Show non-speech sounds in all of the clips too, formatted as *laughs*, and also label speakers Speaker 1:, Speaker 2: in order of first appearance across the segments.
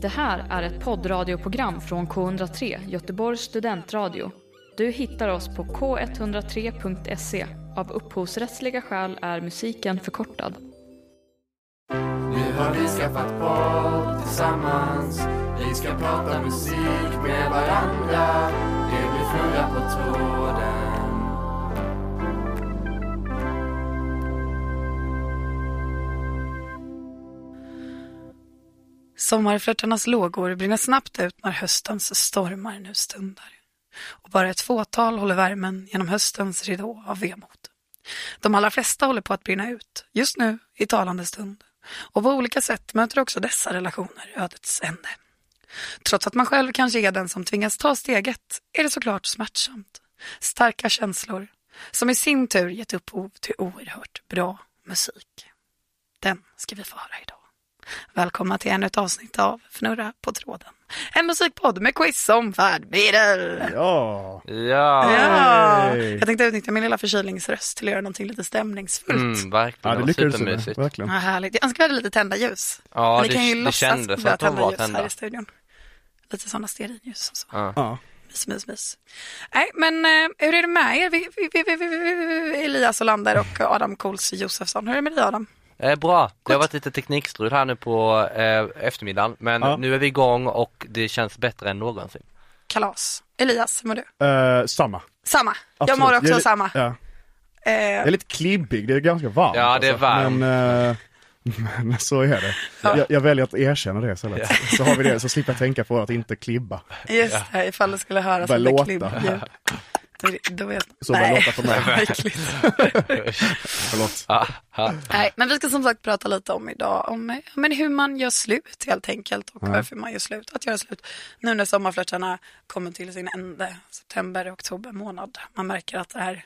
Speaker 1: Det här är ett poddradioprogram från K103, Göteborgs studentradio. Du hittar oss på k103.se. Av upphovsrättsliga skäl är musiken förkortad.
Speaker 2: Nu har vi skaffat podd tillsammans Vi ska prata musik med varandra Det blir Fura på tråden
Speaker 3: Sommarflörtarnas lågor brinner snabbt ut när höstens stormar nu stundar. Och bara ett fåtal håller värmen genom höstens ridå av vemod. De allra flesta håller på att brinna ut, just nu i talande stund. Och på olika sätt möter också dessa relationer ödets ände. Trots att man själv kanske är den som tvingas ta steget är det såklart smärtsamt. Starka känslor som i sin tur gett upphov till oerhört bra musik. Den ska vi få höra idag. Välkomna till ännu ett avsnitt av Fnurra på tråden. En musikpodd med quiz om färdmedel.
Speaker 4: Ja,
Speaker 2: Ja,
Speaker 3: Ja.
Speaker 4: Yay.
Speaker 3: Jag tänkte utnyttja min lilla förkylningsröst till att göra någonting lite stämningsfullt.
Speaker 2: mm, verkligen,
Speaker 4: ja
Speaker 2: det
Speaker 4: det
Speaker 2: var
Speaker 4: lyckades du med,
Speaker 2: supermysigt
Speaker 4: verkligen.
Speaker 3: Ja, härligt. Jag önskar vi hade lite tända ljus.
Speaker 2: Ja,
Speaker 3: Men ni kan ju
Speaker 2: det, det
Speaker 3: låtsas
Speaker 2: kändes
Speaker 3: börja
Speaker 2: att de var
Speaker 3: ljus här
Speaker 2: tända
Speaker 3: i studion. Lite sådana stearinljus och så.
Speaker 2: ja.
Speaker 4: Ja.
Speaker 3: Mys, mys, mys. Nej, men eh, hur är det med er? Vi, vi, vi, vi, vi, vi, Elias Olander och Adam Kols Josefsson. Hur är det med dig Adam?
Speaker 2: eh, Bra, det har varit lite teknikstrul här nu på eh, eftermiddagen Men
Speaker 4: Ja.
Speaker 2: nu är vi igång och det känns bättre än
Speaker 4: *laughs*
Speaker 2: någonsin
Speaker 3: Kalas. Elias, hur mår du?
Speaker 4: Eh, samma.
Speaker 3: Samma.
Speaker 4: Absolut.
Speaker 3: Jag mår också
Speaker 4: är li-
Speaker 3: samma.
Speaker 4: Ja.
Speaker 3: Eh,
Speaker 4: Jag är lite klibbig, det är ganska varmt. alltså.
Speaker 2: Ja, det är varmt.
Speaker 4: Men, eh, *laughs* men så är det.
Speaker 3: Ja.
Speaker 4: Jag, jag väljer att erkänna det istället. Så har vi det, så slipper jag tänka på att inte klibba.
Speaker 3: Just det, ifall det skulle höras
Speaker 4: Bara
Speaker 3: lite
Speaker 4: låta. *laughs*
Speaker 3: klibbljud. Då- Då vet
Speaker 4: Så bara låta för
Speaker 3: *laughs*
Speaker 4: mig.
Speaker 3: vad äckligt.
Speaker 4: Förlåt.
Speaker 2: Ja, ja.
Speaker 3: Nej, men vi ska som sagt prata lite om idag, om eh, men hur man gör slut helt enkelt och varför man gör slut, att göra slut nu när sommarflörtarna kommer till sin ände, september, oktober månad. Man märker att det här,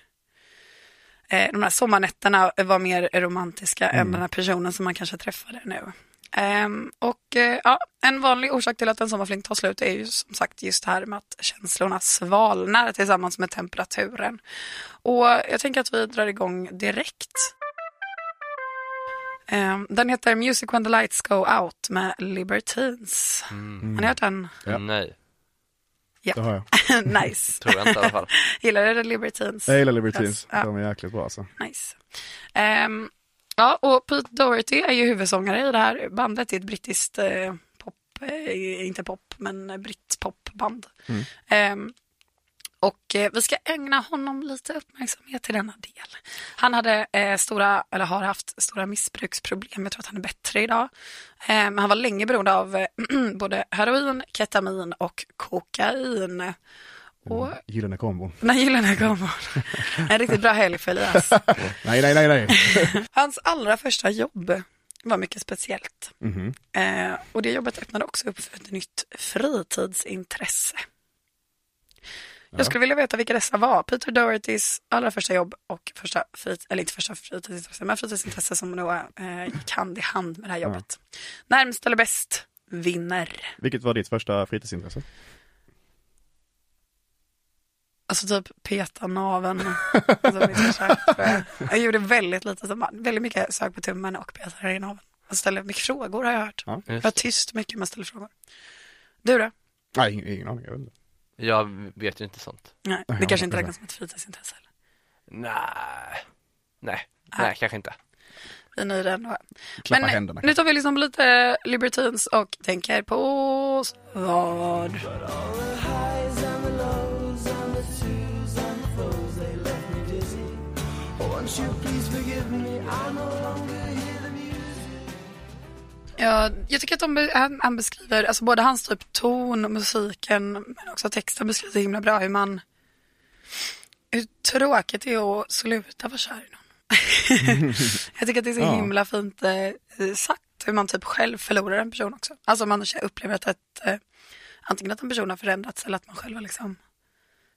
Speaker 3: eh, de här sommarnätterna var mer romantiska än den här personen som man kanske träffade nu. Ehm, och eh, ja, en vanlig orsak till att en sommarflink tar slut är ju som sagt just det här med att känslorna svalnar tillsammans med temperaturen. Och jag tänker att vi drar igång direkt. Ehm, Den heter Music When the Lights Go Out med Libertines. Har ni hört den? *laughs*
Speaker 4: Ja.
Speaker 2: Nej,
Speaker 4: Det har jag.
Speaker 3: nice.
Speaker 2: tror jag inte i alla fall
Speaker 3: Gillar du Libertines?
Speaker 4: Mm. Jag gillar Libertines,
Speaker 3: Ja.
Speaker 4: de är jäkligt bra alltså.
Speaker 3: Nice. Ehm, ja, och Pete Doherty är ju huvudsångare i det här bandet. Det är ett brittiskt eh, pop, eh, inte pop, men britt popband. Ehm, och eh, vi ska ägna honom lite uppmärksamhet i denna del. Han hade eh, stora, eller har haft stora missbruksproblem. Jag tror att han är bättre idag. Eh, men han var länge beroende av eh, *clears throat* både heroin, ketamin och kokain. Och
Speaker 4: Gyllene kombon.
Speaker 3: den här gyllene kombon. En riktigt bra helg för Elias.
Speaker 4: Nej, nej, nej, nej.
Speaker 3: Hans allra första jobb var mycket speciellt.
Speaker 4: Mhm.
Speaker 3: Eh, och det jobbet öppnade också upp för ett nytt fritidsintresse. Jag skulle vilja veta vilka dessa var. Peter Dohertys allra första jobb och första, frit- eller inte första fritidsintresse, men fritidsintresse som nog eh, gick hand i hand med det här jobbet. Närmst eller bäst vinner.
Speaker 4: Vilket var ditt första fritidsintresse?
Speaker 3: Alltså typ peta naveln. Alltså, mitt första, tror jag. jag gjorde väldigt lite som barn. Väldigt mycket sök på tummen och petade i naveln. Jag ställde mycket frågor har jag hört.
Speaker 4: Ja.
Speaker 3: Jag var tyst mycket man ställer frågor. Du då?
Speaker 4: Nej, ingen, ingen aning. Jag vet inte. *clears throat*
Speaker 2: Jag vet ju inte sånt
Speaker 3: Nej, det
Speaker 4: Nej,
Speaker 3: kanske
Speaker 4: jag
Speaker 3: inte
Speaker 4: vet
Speaker 3: räknas som ett fritidsintresse. Eller?
Speaker 2: Nej, nej, nej kanske inte
Speaker 3: Vi nöjer ändå.
Speaker 4: Klappa händerna.
Speaker 3: nu tar vi liksom lite Libertines och tänker på vad. Ja, jag tycker att de, be- han, han beskriver, alltså både hans typ ton och musiken, men också texten beskriver så himla bra hur man, hur tråkigt det är att sluta vara kär i någon.
Speaker 4: *laughs*
Speaker 3: jag tycker att det är så
Speaker 4: Ja.
Speaker 3: himla fint eh, sagt hur man typ själv förlorar en person också. Alltså man upplever att ett, eh, antingen att en person har förändrats eller att man själv har liksom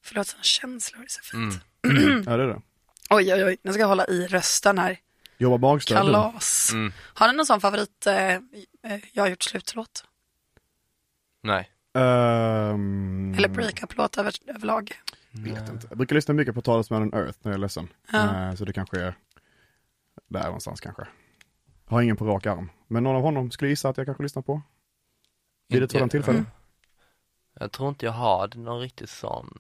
Speaker 3: förlorat sina känslor. Det är så fint.
Speaker 4: Mm. Ja, det är det.
Speaker 3: Oj, oj, j, nu ska jag hålla i rösten här.
Speaker 4: Jobba magstöd. du. Mm.
Speaker 3: Kalas. Har ni någon sån favorit, eh, eh, jag har gjort slutlåt?
Speaker 2: Nej,
Speaker 4: Ehm,
Speaker 3: Eller breakup-låt över, överlag.
Speaker 4: Vet inte. Jag brukar lyssna mycket på Talesmannen Earth när jag är ledsen.
Speaker 3: Ja.
Speaker 4: Eh, Så det kanske är där någonstans kanske. Har ingen på rak arm. Men någon av honom skulle jag gissa att jag kanske lyssnar på. Vid ett sådant tillfälle?
Speaker 5: Jag tror inte jag har någon riktigt sån,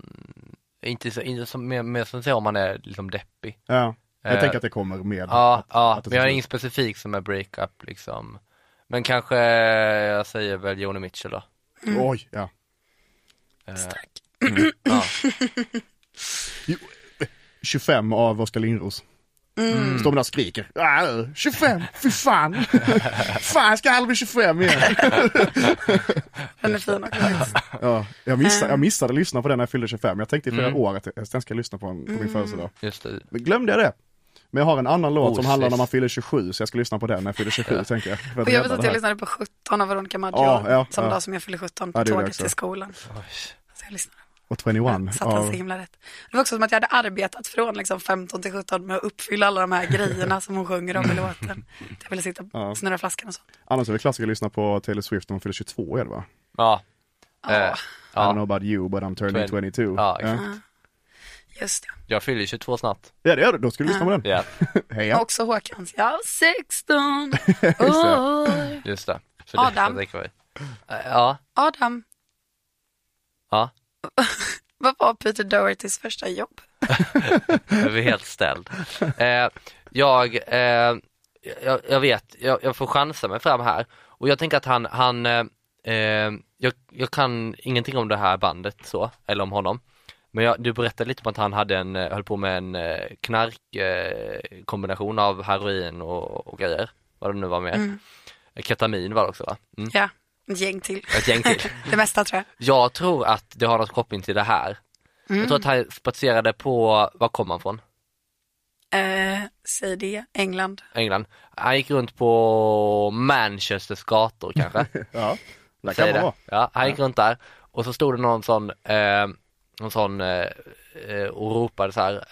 Speaker 5: inte så, inte så mer, mer som så om man är liksom deppig.
Speaker 4: Ja. Jag
Speaker 5: Eh,
Speaker 4: tänker att det kommer med.
Speaker 5: Ja, ja,
Speaker 4: att det
Speaker 5: men jag har
Speaker 4: ska-
Speaker 5: ingen specifik som är breakup liksom. Men kanske, eh, jag säger väl Joni Mitchell då.
Speaker 4: Oj, ja.
Speaker 5: Eh,
Speaker 3: Stark.
Speaker 5: ja.
Speaker 4: 25 av Oskar Lindros. Står man där och skriker. "Ah, 25,
Speaker 5: *laughs*
Speaker 4: fy fan! fan ska han bli 25 igen?
Speaker 3: Den är fin också. faktiskt.
Speaker 4: Ja, jag, missade, jag missade att lyssna på den när jag fyllde 25. Jag tänkte i
Speaker 5: Mm.
Speaker 4: flera år att jag, sen ska jag lyssna på, den på min födelsedag.
Speaker 5: Just det.
Speaker 4: Men glömde jag det. Men jag har en annan låt som
Speaker 5: Osis.
Speaker 4: handlar om när man fyller 27, så jag ska lyssna på den när jag fyller 27, tänker jag. För
Speaker 3: Och jag vet
Speaker 4: rädda
Speaker 3: att
Speaker 4: det
Speaker 3: jag
Speaker 4: här.
Speaker 3: lyssnade på 17 av Veronica Maggio
Speaker 4: Ja, ja,
Speaker 3: samma
Speaker 4: ja.
Speaker 3: dag som jag fyllde 17 på
Speaker 4: Ja, det gjorde jag
Speaker 3: tåget
Speaker 4: också.
Speaker 3: till skolan.
Speaker 5: Oj.
Speaker 3: Så jag lyssnade.
Speaker 4: Och 21.
Speaker 3: Satt han så
Speaker 4: Ja.
Speaker 3: himla rätt. Det var också som att jag hade arbetat från liksom 15 till 17 med att uppfylla alla de
Speaker 4: *laughs*
Speaker 3: här grejerna som hon sjunger om i låten. Att Jag ville sitta
Speaker 4: Ja.
Speaker 3: och snurra flaskan och så.
Speaker 4: Annars är det klassiker att lyssna på Taylor Swift när man fyller 22, är det va?
Speaker 5: Ja.
Speaker 3: Ja.
Speaker 5: Eh,
Speaker 4: I don't
Speaker 5: ja.
Speaker 4: know about you, but I'm turning
Speaker 5: Twen-
Speaker 4: 22.
Speaker 5: Ja, exakt.
Speaker 3: Just det.
Speaker 5: Jag fyller 22 snart.
Speaker 4: Ja, det gör du. Då ska du lyssna på den.
Speaker 5: Ja,
Speaker 4: Heja.
Speaker 3: Också Håkans. Ja,
Speaker 4: *laughs*
Speaker 3: 16 Oh. år.
Speaker 5: just det. Så
Speaker 3: Adam.
Speaker 5: Det, det dricker vi. Eh, ja,
Speaker 3: Adam,
Speaker 5: ja.
Speaker 3: vad var Peter Dohertys första jobb?
Speaker 5: Jag blir helt ställd. Eh, jag, eh, jag, jag vet, jag, jag får chansa mig fram här och jag tänker att han, han eh, eh, jag, jag kan ingenting om det här bandet så, eller om honom. Men jag, du berättade lite om att han hade en, eh, höll på med en eh, knark eh, kombination av heroin och, och grejer, vad det nu var med. Ketamin var det också va? Mm.
Speaker 3: Ja, ett gäng till.
Speaker 5: Ett
Speaker 3: *laughs*
Speaker 5: gäng till.
Speaker 3: Det mesta tror jag.
Speaker 5: Jag tror att det har något koppling till det här. Jag tror att han spatserade på, var kom han från?
Speaker 3: Eh, säg det, England.
Speaker 5: England. Han gick runt på Manchesters gator kanske.
Speaker 4: Ja, *laughs* där kan
Speaker 5: Säger
Speaker 4: man
Speaker 5: det.
Speaker 4: vara.
Speaker 5: Ja, han gick runt där och så stod det någon sån, eh, någon sån eh, eh, och ropade så här,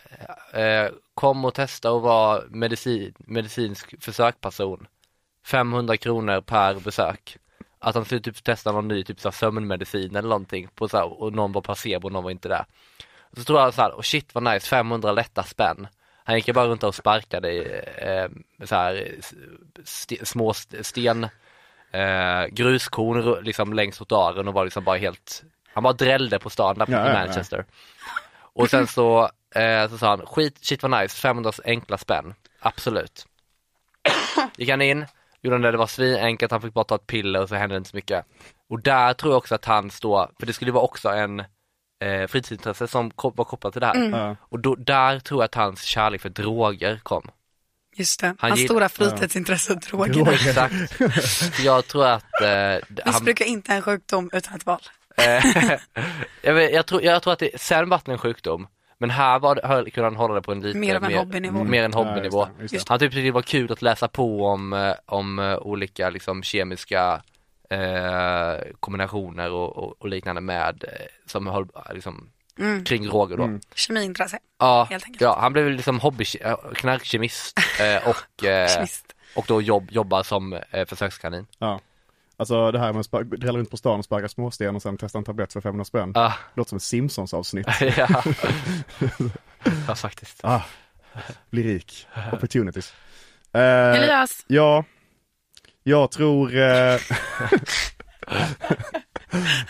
Speaker 5: eh, kom och testa och vara medicin, medicinsk försökperson. 500 kronor per besök. Att han skulle typ testa någon ny typ så här, sömnmedicin eller någonting på så här, och någon var placebo och någon var inte där. Så tror jag så här, oh shit vad nice, 500 lätta spänn. Han gick ju bara runt och sparkade i eh, så här, st- små st- sten, eh, gruskorn ru- liksom längs trottoaren och var liksom bara helt, han bara drällde på stan där på
Speaker 4: Ja, ja,
Speaker 5: i
Speaker 4: ja.
Speaker 5: Manchester. Och sen så, eh, så sa han, skit, shit vad nice, 500 enkla spänn, absolut. Gick han in, gjorde han det, det var svinenkelt, han fick bara ta ett piller och så hände det inte så mycket. Och där tror jag också att han står, för det skulle ju vara också en eh, fritidsintresse som ko- var kopplat till det här.
Speaker 3: Mm.
Speaker 4: Ja.
Speaker 5: Och då, där tror jag att hans kärlek för droger kom.
Speaker 3: Just det,
Speaker 5: Han
Speaker 3: hans
Speaker 5: gill-
Speaker 3: stora fritidsintresse är drogerna.
Speaker 4: Droger. *laughs*
Speaker 5: Exakt. Jag tror att eh, han,
Speaker 3: Missbruk är inte en sjukdom utan ett val.
Speaker 5: jag, vet, jag, tror, jag tror att det, sen vart det en sjukdom. Men här var, det- höll, kunde han hålla det på en lite
Speaker 3: Mer av en hobbynivå.
Speaker 5: Mer en
Speaker 4: Ja,
Speaker 5: hobbynivå.
Speaker 4: just det, just det.
Speaker 5: Han tyckte det var kul att läsa på om, eh, om eh, olika liksom, kemiska eh, kombinationer och, och, och liknande med, eh, som höll, liksom,
Speaker 3: Mm.
Speaker 5: kring droger då.
Speaker 4: Mm.
Speaker 3: Kemiintresse.
Speaker 5: Ja,
Speaker 3: Helt enkelt.
Speaker 5: ja, han blev liksom hobby, eh,
Speaker 3: *laughs*
Speaker 5: knarkkemist eh, och,
Speaker 4: Äh.
Speaker 5: eh,
Speaker 3: Kemist.
Speaker 5: och då jobb, jobbar som eh,
Speaker 3: *laughs*
Speaker 5: försökskanin.
Speaker 4: Ja. Alltså det här med att spark- drälla runt på stan och sparka småsten och sen testa en tablett för 500 spänn.
Speaker 5: Ja,
Speaker 4: Låter som ett Simpsons-avsnitt.
Speaker 5: ja. ja faktiskt.
Speaker 4: *laughs* Ah, bli rik. Opportunities. Eh,
Speaker 3: Elias,
Speaker 4: ja, jag tror... Eh,
Speaker 3: *laughs*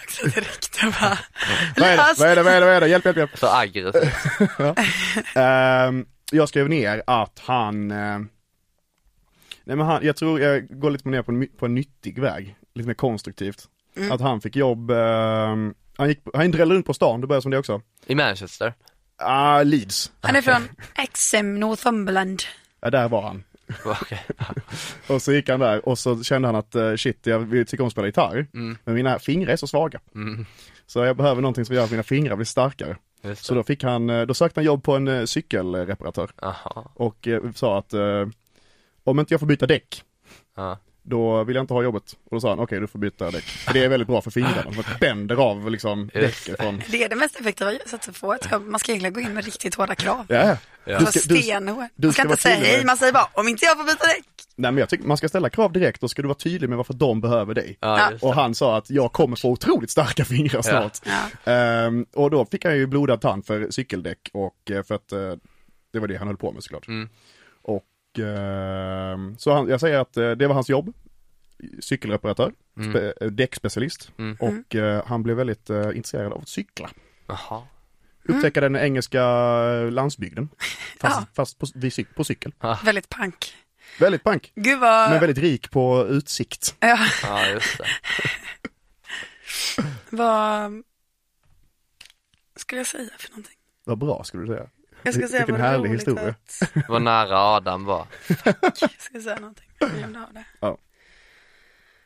Speaker 3: också direkt. Jag bara,
Speaker 4: *laughs* vad, är det?
Speaker 3: Elias!
Speaker 4: vad är det? Vad är det? Vad är det? Hjälp, hjälp, hjälp.
Speaker 5: Så aggressiv.
Speaker 4: Ehm, jag skrev ner att han, eh, nej men han, jag tror jag går lite mer på en, my- på en nyttig väg, lite mer konstruktivt. Att han fick jobb, ehm, han gick, han drällde runt på stan, det började som det också.
Speaker 5: I Manchester.
Speaker 4: Ah, Leeds,
Speaker 3: Han är
Speaker 4: *laughs*
Speaker 3: från Exham, Northumberland.
Speaker 4: ja, där var han.
Speaker 5: Okej.
Speaker 3: *laughs*
Speaker 4: Och så gick han där och så kände han att eh, shit, jag vill- tycker om att spela gitarr, men mina fingrar är så svaga. Så jag behöver någonting som gör att mina fingrar blir starkare.
Speaker 5: Just
Speaker 4: Så
Speaker 5: det.
Speaker 4: då fick han, eh, då sökte han jobb på en eh, cykelreparatör
Speaker 5: Jaha.
Speaker 4: och eh, sa att eh, om inte jag får byta däck
Speaker 5: Ja.
Speaker 4: då vill jag inte ha jobbet. Och då sa han, okej du får byta däck. För det är väldigt bra för fingrarna, man bänder av liksom
Speaker 5: Just
Speaker 4: däcket från...
Speaker 3: Det är det mest effektiva sättet att få ett jobb. Man ska egentligen gå in med riktigt hårda krav.
Speaker 4: Ja.
Speaker 3: Du
Speaker 4: Du ska, du,
Speaker 3: stenhård.
Speaker 4: du
Speaker 3: Man ska
Speaker 4: ska
Speaker 3: inte
Speaker 4: vara
Speaker 3: säga
Speaker 4: tydlig.
Speaker 3: hej, man säger bara om inte jag får byta däck.
Speaker 4: nej men jag tycker man ska ställa krav direkt, då ska du vara tydlig med varför de behöver dig.
Speaker 5: Ja, just det.
Speaker 4: Och han sa att jag kommer få otroligt starka fingrar snart. Ehm, och då fick han ju blodad tand för cykeldäck och eh, för att eh, det var det han höll Mm. på med såklart. Och ehm, så han, jag säger att eh, det var hans jobb. cykelreparatör, spe, eh, däckspecialist
Speaker 5: Mm.
Speaker 4: och eh, han blev väldigt eh, intresserad av att cykla.
Speaker 5: Jaha.
Speaker 4: Upptäcka den engelska eh, landsbygden, fast, fast på, vid cyk- på cykel.
Speaker 3: Väldigt pank.
Speaker 4: Väldigt pank,
Speaker 3: Gud vad...
Speaker 4: men väldigt rik på utsikt.
Speaker 3: ja, *laughs*
Speaker 5: Ja, just det.
Speaker 3: vad... skulle jag säga för någonting?
Speaker 4: Vad bra skulle du säga.
Speaker 3: Jag ska
Speaker 4: Vil-
Speaker 3: säga
Speaker 4: vilken
Speaker 3: vad
Speaker 4: härlig
Speaker 3: roligt
Speaker 4: historia.
Speaker 3: Att...
Speaker 5: Vad nära Adam var.
Speaker 3: Jag ska säga någonting. Jag glömde av det.
Speaker 4: Ja.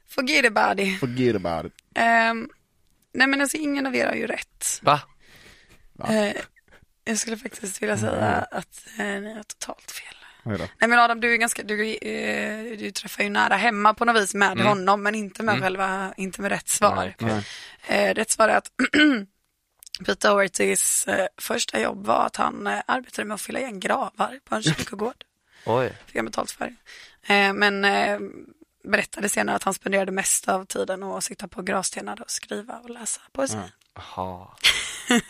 Speaker 3: Forget about it.
Speaker 4: Forget about it.
Speaker 3: Ehm, nej men alltså ingen av er har ju rätt.
Speaker 5: Va?
Speaker 3: Eh, jag skulle faktiskt vilja säga att eh, ni har totalt fel.
Speaker 4: Oj då.
Speaker 3: Nej men Adam, du är ganska, du, eh, du träffar ju nära hemma på något vis med honom, men inte med själva, inte med rätt svar.
Speaker 5: Nej. Mm.
Speaker 4: Nej.
Speaker 3: Eh, rätt svar är att *clears throat* Pete Dohertys eh, första jobb var att han eh, arbetade med att fylla igen gravar på en kyrkogård.
Speaker 5: Oj.
Speaker 3: Fick han betalt för. Eh, men eh, berättade senare att han spenderade mest av tiden att sitta på gravstenar och skriva och läsa poesi.
Speaker 5: Jaha.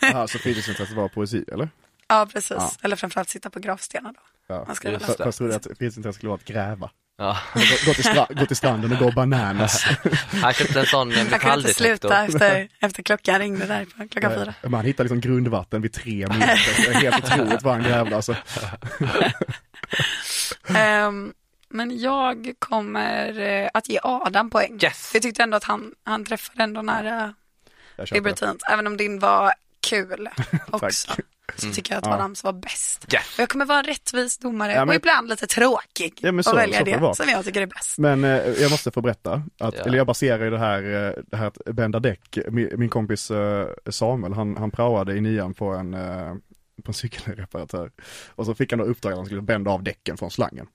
Speaker 4: Jaha, så fritidsintresset var poesi eller?
Speaker 3: Ja, precis. Eller framförallt sitta på gravstenar då.
Speaker 4: Ja.
Speaker 3: Man skulle
Speaker 5: just
Speaker 3: läsa.
Speaker 4: Fast jag trodde att fritidsintresset skulle vara att gräva.
Speaker 5: Ja.
Speaker 4: Gå- Gå till, stra- gå till stranden och gå bananas.
Speaker 5: Han köpte en sån
Speaker 3: Jag
Speaker 5: eh,
Speaker 3: kunde inte
Speaker 5: metalldetektor.
Speaker 3: sluta efter, *laughs* efter klockan ringde där på klockan fyra.
Speaker 4: Man hittar liksom grundvatten vid tre minuter. Det är helt otroligt vad han grävde alltså.
Speaker 3: Ehm, men jag kommer eh, att ge Adam poäng.
Speaker 5: Yes!
Speaker 3: Jag tyckte ändå att han, han träffade ändå nära
Speaker 4: Jag köper det.
Speaker 3: Libertines, även om din var kul
Speaker 4: *laughs*
Speaker 3: också. Så tycker jag att
Speaker 4: Mm. Ja.
Speaker 3: Adams var bäst.
Speaker 5: Yes.
Speaker 3: Och jag kommer vara en rättvis domare
Speaker 4: Ja, men-
Speaker 3: och ibland lite tråkig
Speaker 4: Ja, men så-
Speaker 3: och välja
Speaker 4: så får det
Speaker 3: det
Speaker 4: vara.
Speaker 3: som jag tycker är bäst.
Speaker 4: Men eh, jag måste få berätta, att,
Speaker 5: Ja.
Speaker 4: eller jag baserar ju det här, eh, det här att bända däck, min, min kompis eh, Samuel, han, han praoade i nian på en, eh, på en cykelreparatör. Och så fick han då uppdrag att han skulle bända av däcken från slangen.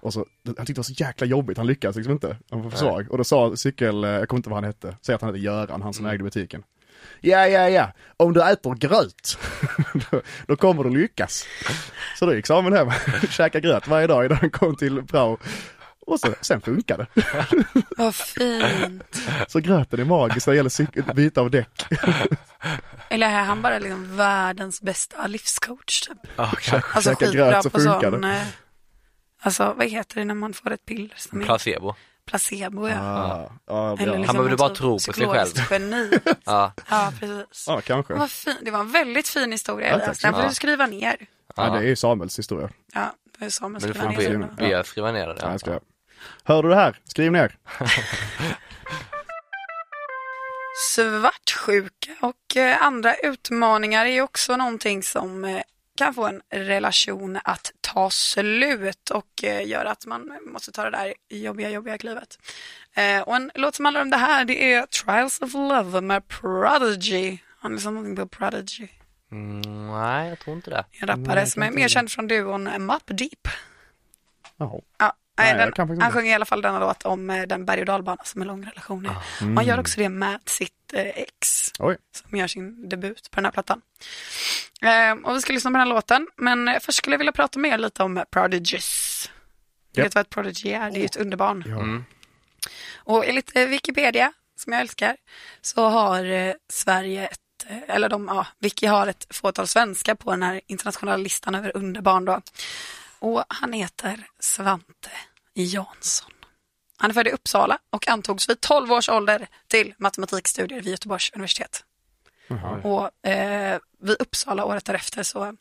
Speaker 4: Och så, han tyckte det var så jäkla jobbigt, han lyckades liksom inte, han var för svag. Och då sa cykel, eh, jag kommer inte ihåg vad han hette, säg att han hette Göran, han som ägde butiken. Ja, ja, ja, om du äter gröt, *laughs* då, då kommer du lyckas. Så då gick Samuel hem och *laughs* käkade gröt varje dag innan han kom till prao. Och så, sen funkade det.
Speaker 3: Vad fint.
Speaker 4: Så gröten är magisk när det gäller cyk- byta av däck.
Speaker 3: Eller är han bara liksom världens bästa livscoach typ?
Speaker 5: Ja, kanske.
Speaker 3: Alltså
Speaker 4: Käka gröt
Speaker 3: skitbra
Speaker 4: så
Speaker 3: på
Speaker 4: funkar
Speaker 3: sån,
Speaker 4: det.
Speaker 3: eh, alltså vad heter det när man får ett piller som är
Speaker 5: Placebo.
Speaker 3: placebo ja.
Speaker 4: Ja, ja,
Speaker 3: Eller liksom
Speaker 4: Ah, ja.
Speaker 5: Han behövde
Speaker 3: någon
Speaker 5: bara
Speaker 3: typ
Speaker 5: tro på sig
Speaker 3: psykologiskt
Speaker 4: *laughs*
Speaker 3: Geni.
Speaker 5: Ja.
Speaker 3: ja, precis.
Speaker 4: ja kanske.
Speaker 3: Vad fin. Det var en väldigt fin historia.
Speaker 4: Ah, Ja,
Speaker 3: jag
Speaker 4: tack
Speaker 3: läste.
Speaker 4: så
Speaker 3: Den får
Speaker 5: mycket.
Speaker 3: du skriva ner.
Speaker 4: Ja, det är ju Samuels historia.
Speaker 3: Ja, det är så man
Speaker 5: Men du
Speaker 3: skriver
Speaker 5: får
Speaker 4: han
Speaker 3: ner
Speaker 4: skriva
Speaker 5: be,
Speaker 3: den.
Speaker 4: ner.
Speaker 5: be skriva ner
Speaker 4: Ja,
Speaker 5: den.
Speaker 4: jag ska. Hör du det här? Skriv ner.
Speaker 3: Svartsjuka och eh, andra utmaningar är ju också någonting som eh, kan få en relation att ta slut och eh, göra att man måste ta det där jobbiga, jobbiga klivet. Eh, Och en låt som handlar om det här det är Trials of Love med Prodigy. Har ni liksom någonting på Prodigy?
Speaker 5: Mm, nej, jag tror inte det.
Speaker 3: En rappare som är mer känd från duon Map Deep.
Speaker 4: Ja.
Speaker 3: Ja,
Speaker 4: Nej,
Speaker 3: nej,
Speaker 4: jag kan
Speaker 3: den,
Speaker 4: faktiskt
Speaker 3: han
Speaker 4: inte.
Speaker 3: sjunger i alla fall denna låt om eh, den berg och dalbana som en lång relation är. Och han gör också det med sitt eh, ex
Speaker 4: Ah, mm. Oj.
Speaker 3: som gör sin debut på den här plattan. Ehm, och vi ska lyssna på den här låten, men eh, först skulle jag vilja prata med er lite om Prodigies.
Speaker 4: Ja.
Speaker 3: Vet du vad ett prodigy är? Det är ju ett underbarn.
Speaker 4: Ja.
Speaker 3: Och enligt eh, Wikipedia, som jag älskar, så har eh, Sverige ett, eh, eller de, ja, Wiki har ett fåtal svenskar på den här internationella listan över underbarn då. Och han heter Svante Jansson. Han är född i Uppsala och antogs vid 12 års ålder till matematikstudier vid Göteborgs universitet. Och eh, vid Uppsala året därefter så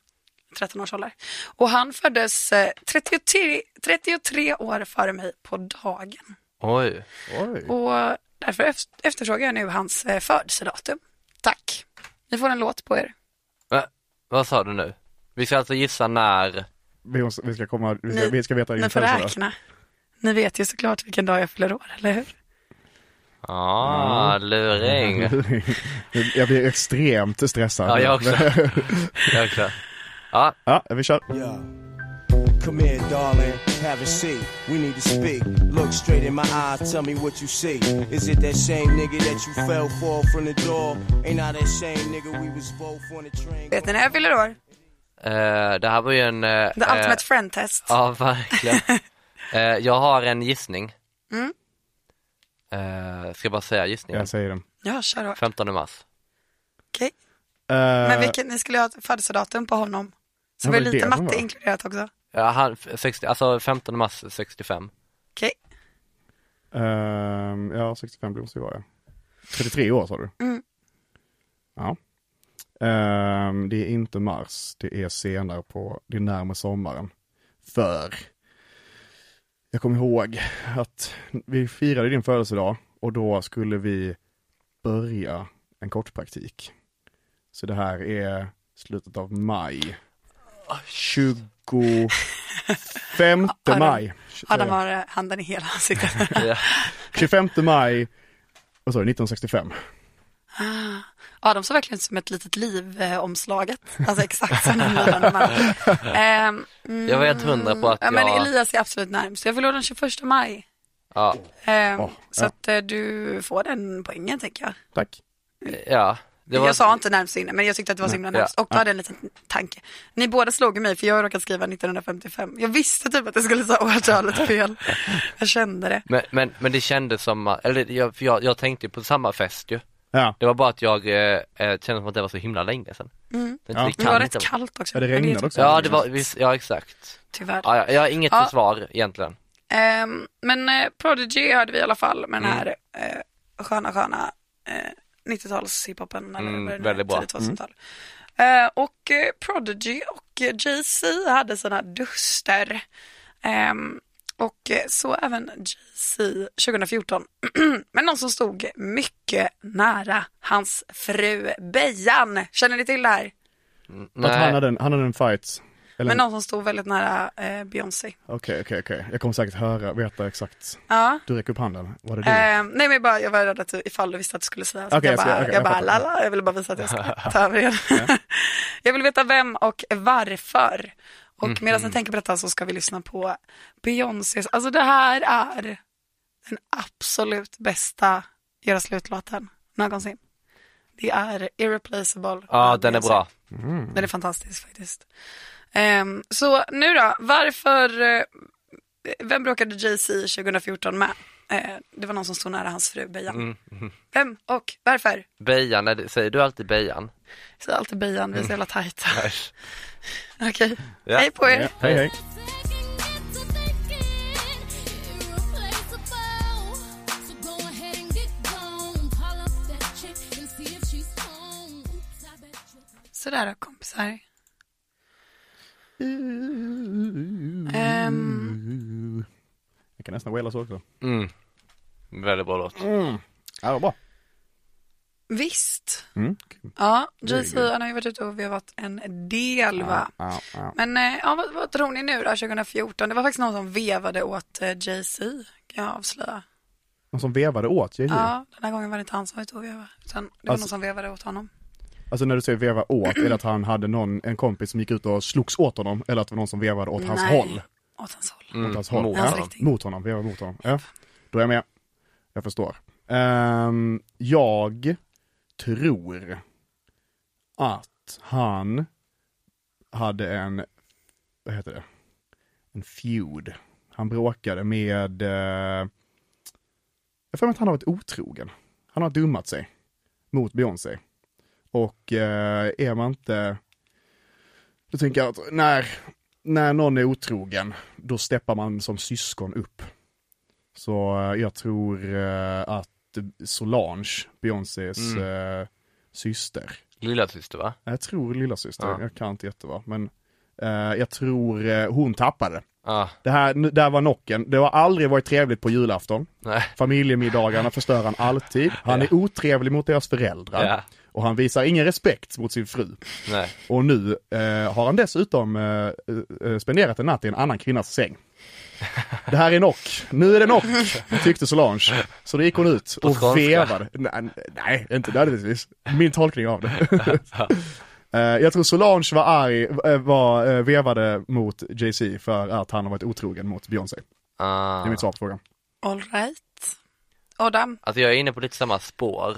Speaker 3: 13 års ålder. Och han föddes eh, 33, 33 år före mig på dagen.
Speaker 5: Oj.
Speaker 4: Oj.
Speaker 3: Och därför eft- efterfrågar jag nu hans eh, födelsedatum. Tack. Ni får en låt på er.
Speaker 5: Va, vad sa du nu? Vi ska alltså gissa när...
Speaker 4: Vi, måste, vi ska komma, vi ska, vi ska veta din
Speaker 3: Ni får
Speaker 4: födelsedag.
Speaker 3: räkna. Ni vet ju såklart vilken dag jag fyller år, eller hur?
Speaker 5: Ja, ah, luring.
Speaker 4: *laughs* Jag blir extremt stressad.
Speaker 5: Ja, jag också. Jag också. Ja,
Speaker 4: *laughs* Ja, vi kör.
Speaker 6: Yo. Come here, darling. Have a seat. We need to speak. Look straight in my eyes. Tell me what you see. Is it that same nigga that you fell for from the door? Ain't I that same nigga we was both on the train?
Speaker 3: Vet ni när jag fyller år?
Speaker 5: eh, det här var ju en... eh,
Speaker 3: The
Speaker 5: eh,
Speaker 3: Ultimate Friend Test.
Speaker 5: *laughs* Ja, verkligen.
Speaker 3: *laughs*
Speaker 5: Eh, jag har en gissning.
Speaker 3: Mm.
Speaker 5: Eh, ska jag bara säga gissningen?
Speaker 4: Jag säger den.
Speaker 3: Ja, kör då.
Speaker 5: 15 mars.
Speaker 3: Okej.
Speaker 4: Eh,
Speaker 3: Men vilken, ni skulle ju ha ett födelsedatum på honom. Så
Speaker 4: Ja,
Speaker 3: vi har
Speaker 4: det var
Speaker 3: lite
Speaker 4: det som
Speaker 3: matte
Speaker 4: var.
Speaker 3: inkluderat också. *laughs*
Speaker 5: Ja, han, 60, alltså 15 mars 65.
Speaker 3: Okej.
Speaker 4: Ehm, ja, 65 blomster var jag. 33 år sa du?
Speaker 3: Mm.
Speaker 4: Ja. Ehm, det är inte mars, det är senare på, det är närmare sommaren. För jag kommer ihåg att vi firade din födelsedag och då skulle vi börja en kortpraktik. Så det här är slutet av maj. 25
Speaker 3: Adam-
Speaker 4: maj.
Speaker 3: Adam har eh, handen i hela ansiktet. *laughs*
Speaker 4: 25 maj, vad sa du, 1965?
Speaker 3: Adam såg verkligen ut som ett litet liv, eh, omslaget. Alltså exakt som den lila man.
Speaker 5: *laughs*
Speaker 3: Ehm, mm,
Speaker 5: Jag var helt hundra på att
Speaker 3: ja, men
Speaker 5: jag-
Speaker 3: Elias är absolut närmst. Jag förlorar den 21 maj.
Speaker 5: Ja,
Speaker 3: Ehm,
Speaker 4: Åh,
Speaker 3: så
Speaker 4: ja.
Speaker 3: att eh, du får den poängen tänker jag.
Speaker 4: Tack.
Speaker 5: ja. Det var,
Speaker 3: Jag sa inte närmst inne, men jag tyckte att det var så himla
Speaker 5: Ja.
Speaker 3: närmst. Och då hade jag en liten tanke. Ni båda slog mig för jag råkade skriva 1955. Jag visste typ att jag skulle säga årtalet
Speaker 5: *laughs*
Speaker 3: fel. Jag kände det.
Speaker 5: men, men, men det kändes som, att- eller jag, för jag, jag tänkte ju på samma fest ju.
Speaker 4: Ja,
Speaker 5: Det var bara att jag eh, eh, kände som att det var så himla länge sedan. Det,
Speaker 4: Ja.
Speaker 3: Mm. Men det var
Speaker 5: inte
Speaker 3: rätt
Speaker 5: vara-
Speaker 3: kallt också.
Speaker 4: Ja, det
Speaker 3: Men
Speaker 4: regnade också.
Speaker 5: Ja, det var, visst, ja exakt.
Speaker 3: Tyvärr.
Speaker 5: Ja, ja, jag har inget
Speaker 3: Ja.
Speaker 5: försvar egentligen.
Speaker 3: Ehm, men eh, Prodigy hörde vi i alla fall med
Speaker 5: Mm.
Speaker 3: den här eh, sköna, sköna eh, 90-tals hiphopen eller
Speaker 5: Mm,
Speaker 3: vad det nu
Speaker 5: väldigt
Speaker 3: är,
Speaker 5: bra. Mm.
Speaker 3: tidigt 2000-tal. Eh, och eh, Prodigy och eh, Jay-Z hade sina duster. Ehm, och eh, så även Jay-Z 2014. *clears throat* men någon som stod mycket nära hans fru Bejan. Känner ni till det här?
Speaker 4: att han hade en, han hade en fight. Eller
Speaker 3: Men
Speaker 4: en-
Speaker 3: någon som stod väldigt nära eh, Beyoncé.
Speaker 4: Okej, okej, okej. Jag kommer säkert höra, veta exakt.
Speaker 3: Ja.
Speaker 4: Du räcker upp handen. Var det du?
Speaker 3: Eh, nej men jag, bara, jag var rädd att du, ifall du visste att du skulle säga så
Speaker 4: Okej,
Speaker 3: jag
Speaker 4: jag
Speaker 3: bara,
Speaker 4: ska-
Speaker 3: jag,
Speaker 4: okej, jag
Speaker 3: bara
Speaker 4: fattar.
Speaker 3: lala, jag ville bara visa att jag
Speaker 4: *laughs*
Speaker 3: skulle ta över igen. *laughs* jag vill veta vem och varför. Och
Speaker 4: Mhm.
Speaker 3: medan ni tänker på detta så ska vi lyssna på Beyoncés, alltså det här är den absolut bästa Göra slut-låten någonsin. Det är Irreplaceable.
Speaker 5: Ja,
Speaker 3: av
Speaker 5: den är
Speaker 3: Beyoncé.
Speaker 5: bra.
Speaker 3: Den är fantastisk faktiskt. Ehm, så nu då, varför, eh, vem bråkade Jay-Z 2014 med? Eh, det var någon som stod nära hans fru Bejan.
Speaker 4: Mm,
Speaker 3: Vem och varför?
Speaker 5: Bejan, är det- säger du alltid Bejan?
Speaker 3: Jag säger alltid Bejan, vi är så jävla tajta. *laughs* Okej,
Speaker 5: Ja.
Speaker 3: hej på er.
Speaker 4: Mm. Ja, hej, hej.
Speaker 3: Sådär då kompisar. Ehm,
Speaker 4: Jag kan nästan waila så också.
Speaker 5: Mm. Väldigt bra låt.
Speaker 4: Ja, vad bra.
Speaker 3: visst,
Speaker 4: Mm. kul.
Speaker 3: ja, Jay-Z han har ju varit ute och vevat en del va.
Speaker 4: Ja, ja.
Speaker 3: Men eh, ja, vad, vad tror ni nu då 2014? Det var faktiskt någon som vevade åt eh, Jay-Z, kan jag avslöja.
Speaker 4: Någon som vevade åt Jay-Z?
Speaker 3: Ja, den här gången var det inte han som var ute och vevade, utan det var
Speaker 4: Alltså-
Speaker 3: någon som vevade åt honom.
Speaker 4: Alltså när du säger veva åt, är det att han hade någon, en kompis som gick ut och slogs åt honom? Eller att det var någon som vevade åt hans
Speaker 3: Nej.
Speaker 4: håll?
Speaker 3: Åt hans håll.
Speaker 4: Mot hans håll.
Speaker 5: mot
Speaker 4: ja.
Speaker 3: honom.
Speaker 4: mot honom, veva mot honom. Ja. Då är jag med. Jag förstår. Ehm, jag tror att han hade en, vad heter det, en feud. Han bråkade med, eh, jag har för mig att han har varit otrogen. Han har dummat sig mot Beyoncé. Och eh, är man inte, då tänker jag att när, när någon är otrogen, då steppar man som syskon upp. Så eh, jag tror eh, att Solange, Beyoncés
Speaker 5: Mm.
Speaker 4: eh, syster,
Speaker 5: Lilla syster va?
Speaker 4: jag tror lillasyster,
Speaker 5: Ja.
Speaker 4: jag kan inte jättebra, men eh, jag tror eh, hon tappade.
Speaker 5: Ja,
Speaker 4: Det här, nu- där var knocken. Det har aldrig varit trevligt på julafton.
Speaker 5: nej.
Speaker 4: Familjemiddagarna förstör han alltid. Han är otrevlig mot deras föräldrar.
Speaker 5: Ja.
Speaker 4: Och han visar ingen respekt mot sin fru.
Speaker 5: nej.
Speaker 4: Och nu eh, har han dessutom eh, eh, spenderat en natt i en annan kvinnas säng. Det här är knock. Nu är det knock, tyckte Solange. Så då gick hon ut och
Speaker 5: skånska.
Speaker 4: vevade. Nej, nej, inte nödvändigtvis. Min tolkning
Speaker 5: *laughs*
Speaker 4: av det. Eh, Jag tror Solange var arg, eh, var, eh, vevade mot Jay-Z för att han har varit otrogen mot Beyoncé. Det
Speaker 5: Ah.
Speaker 4: är mitt svar på frågan.
Speaker 3: All right. Adam,
Speaker 5: Alltså jag är inne på lite samma spår.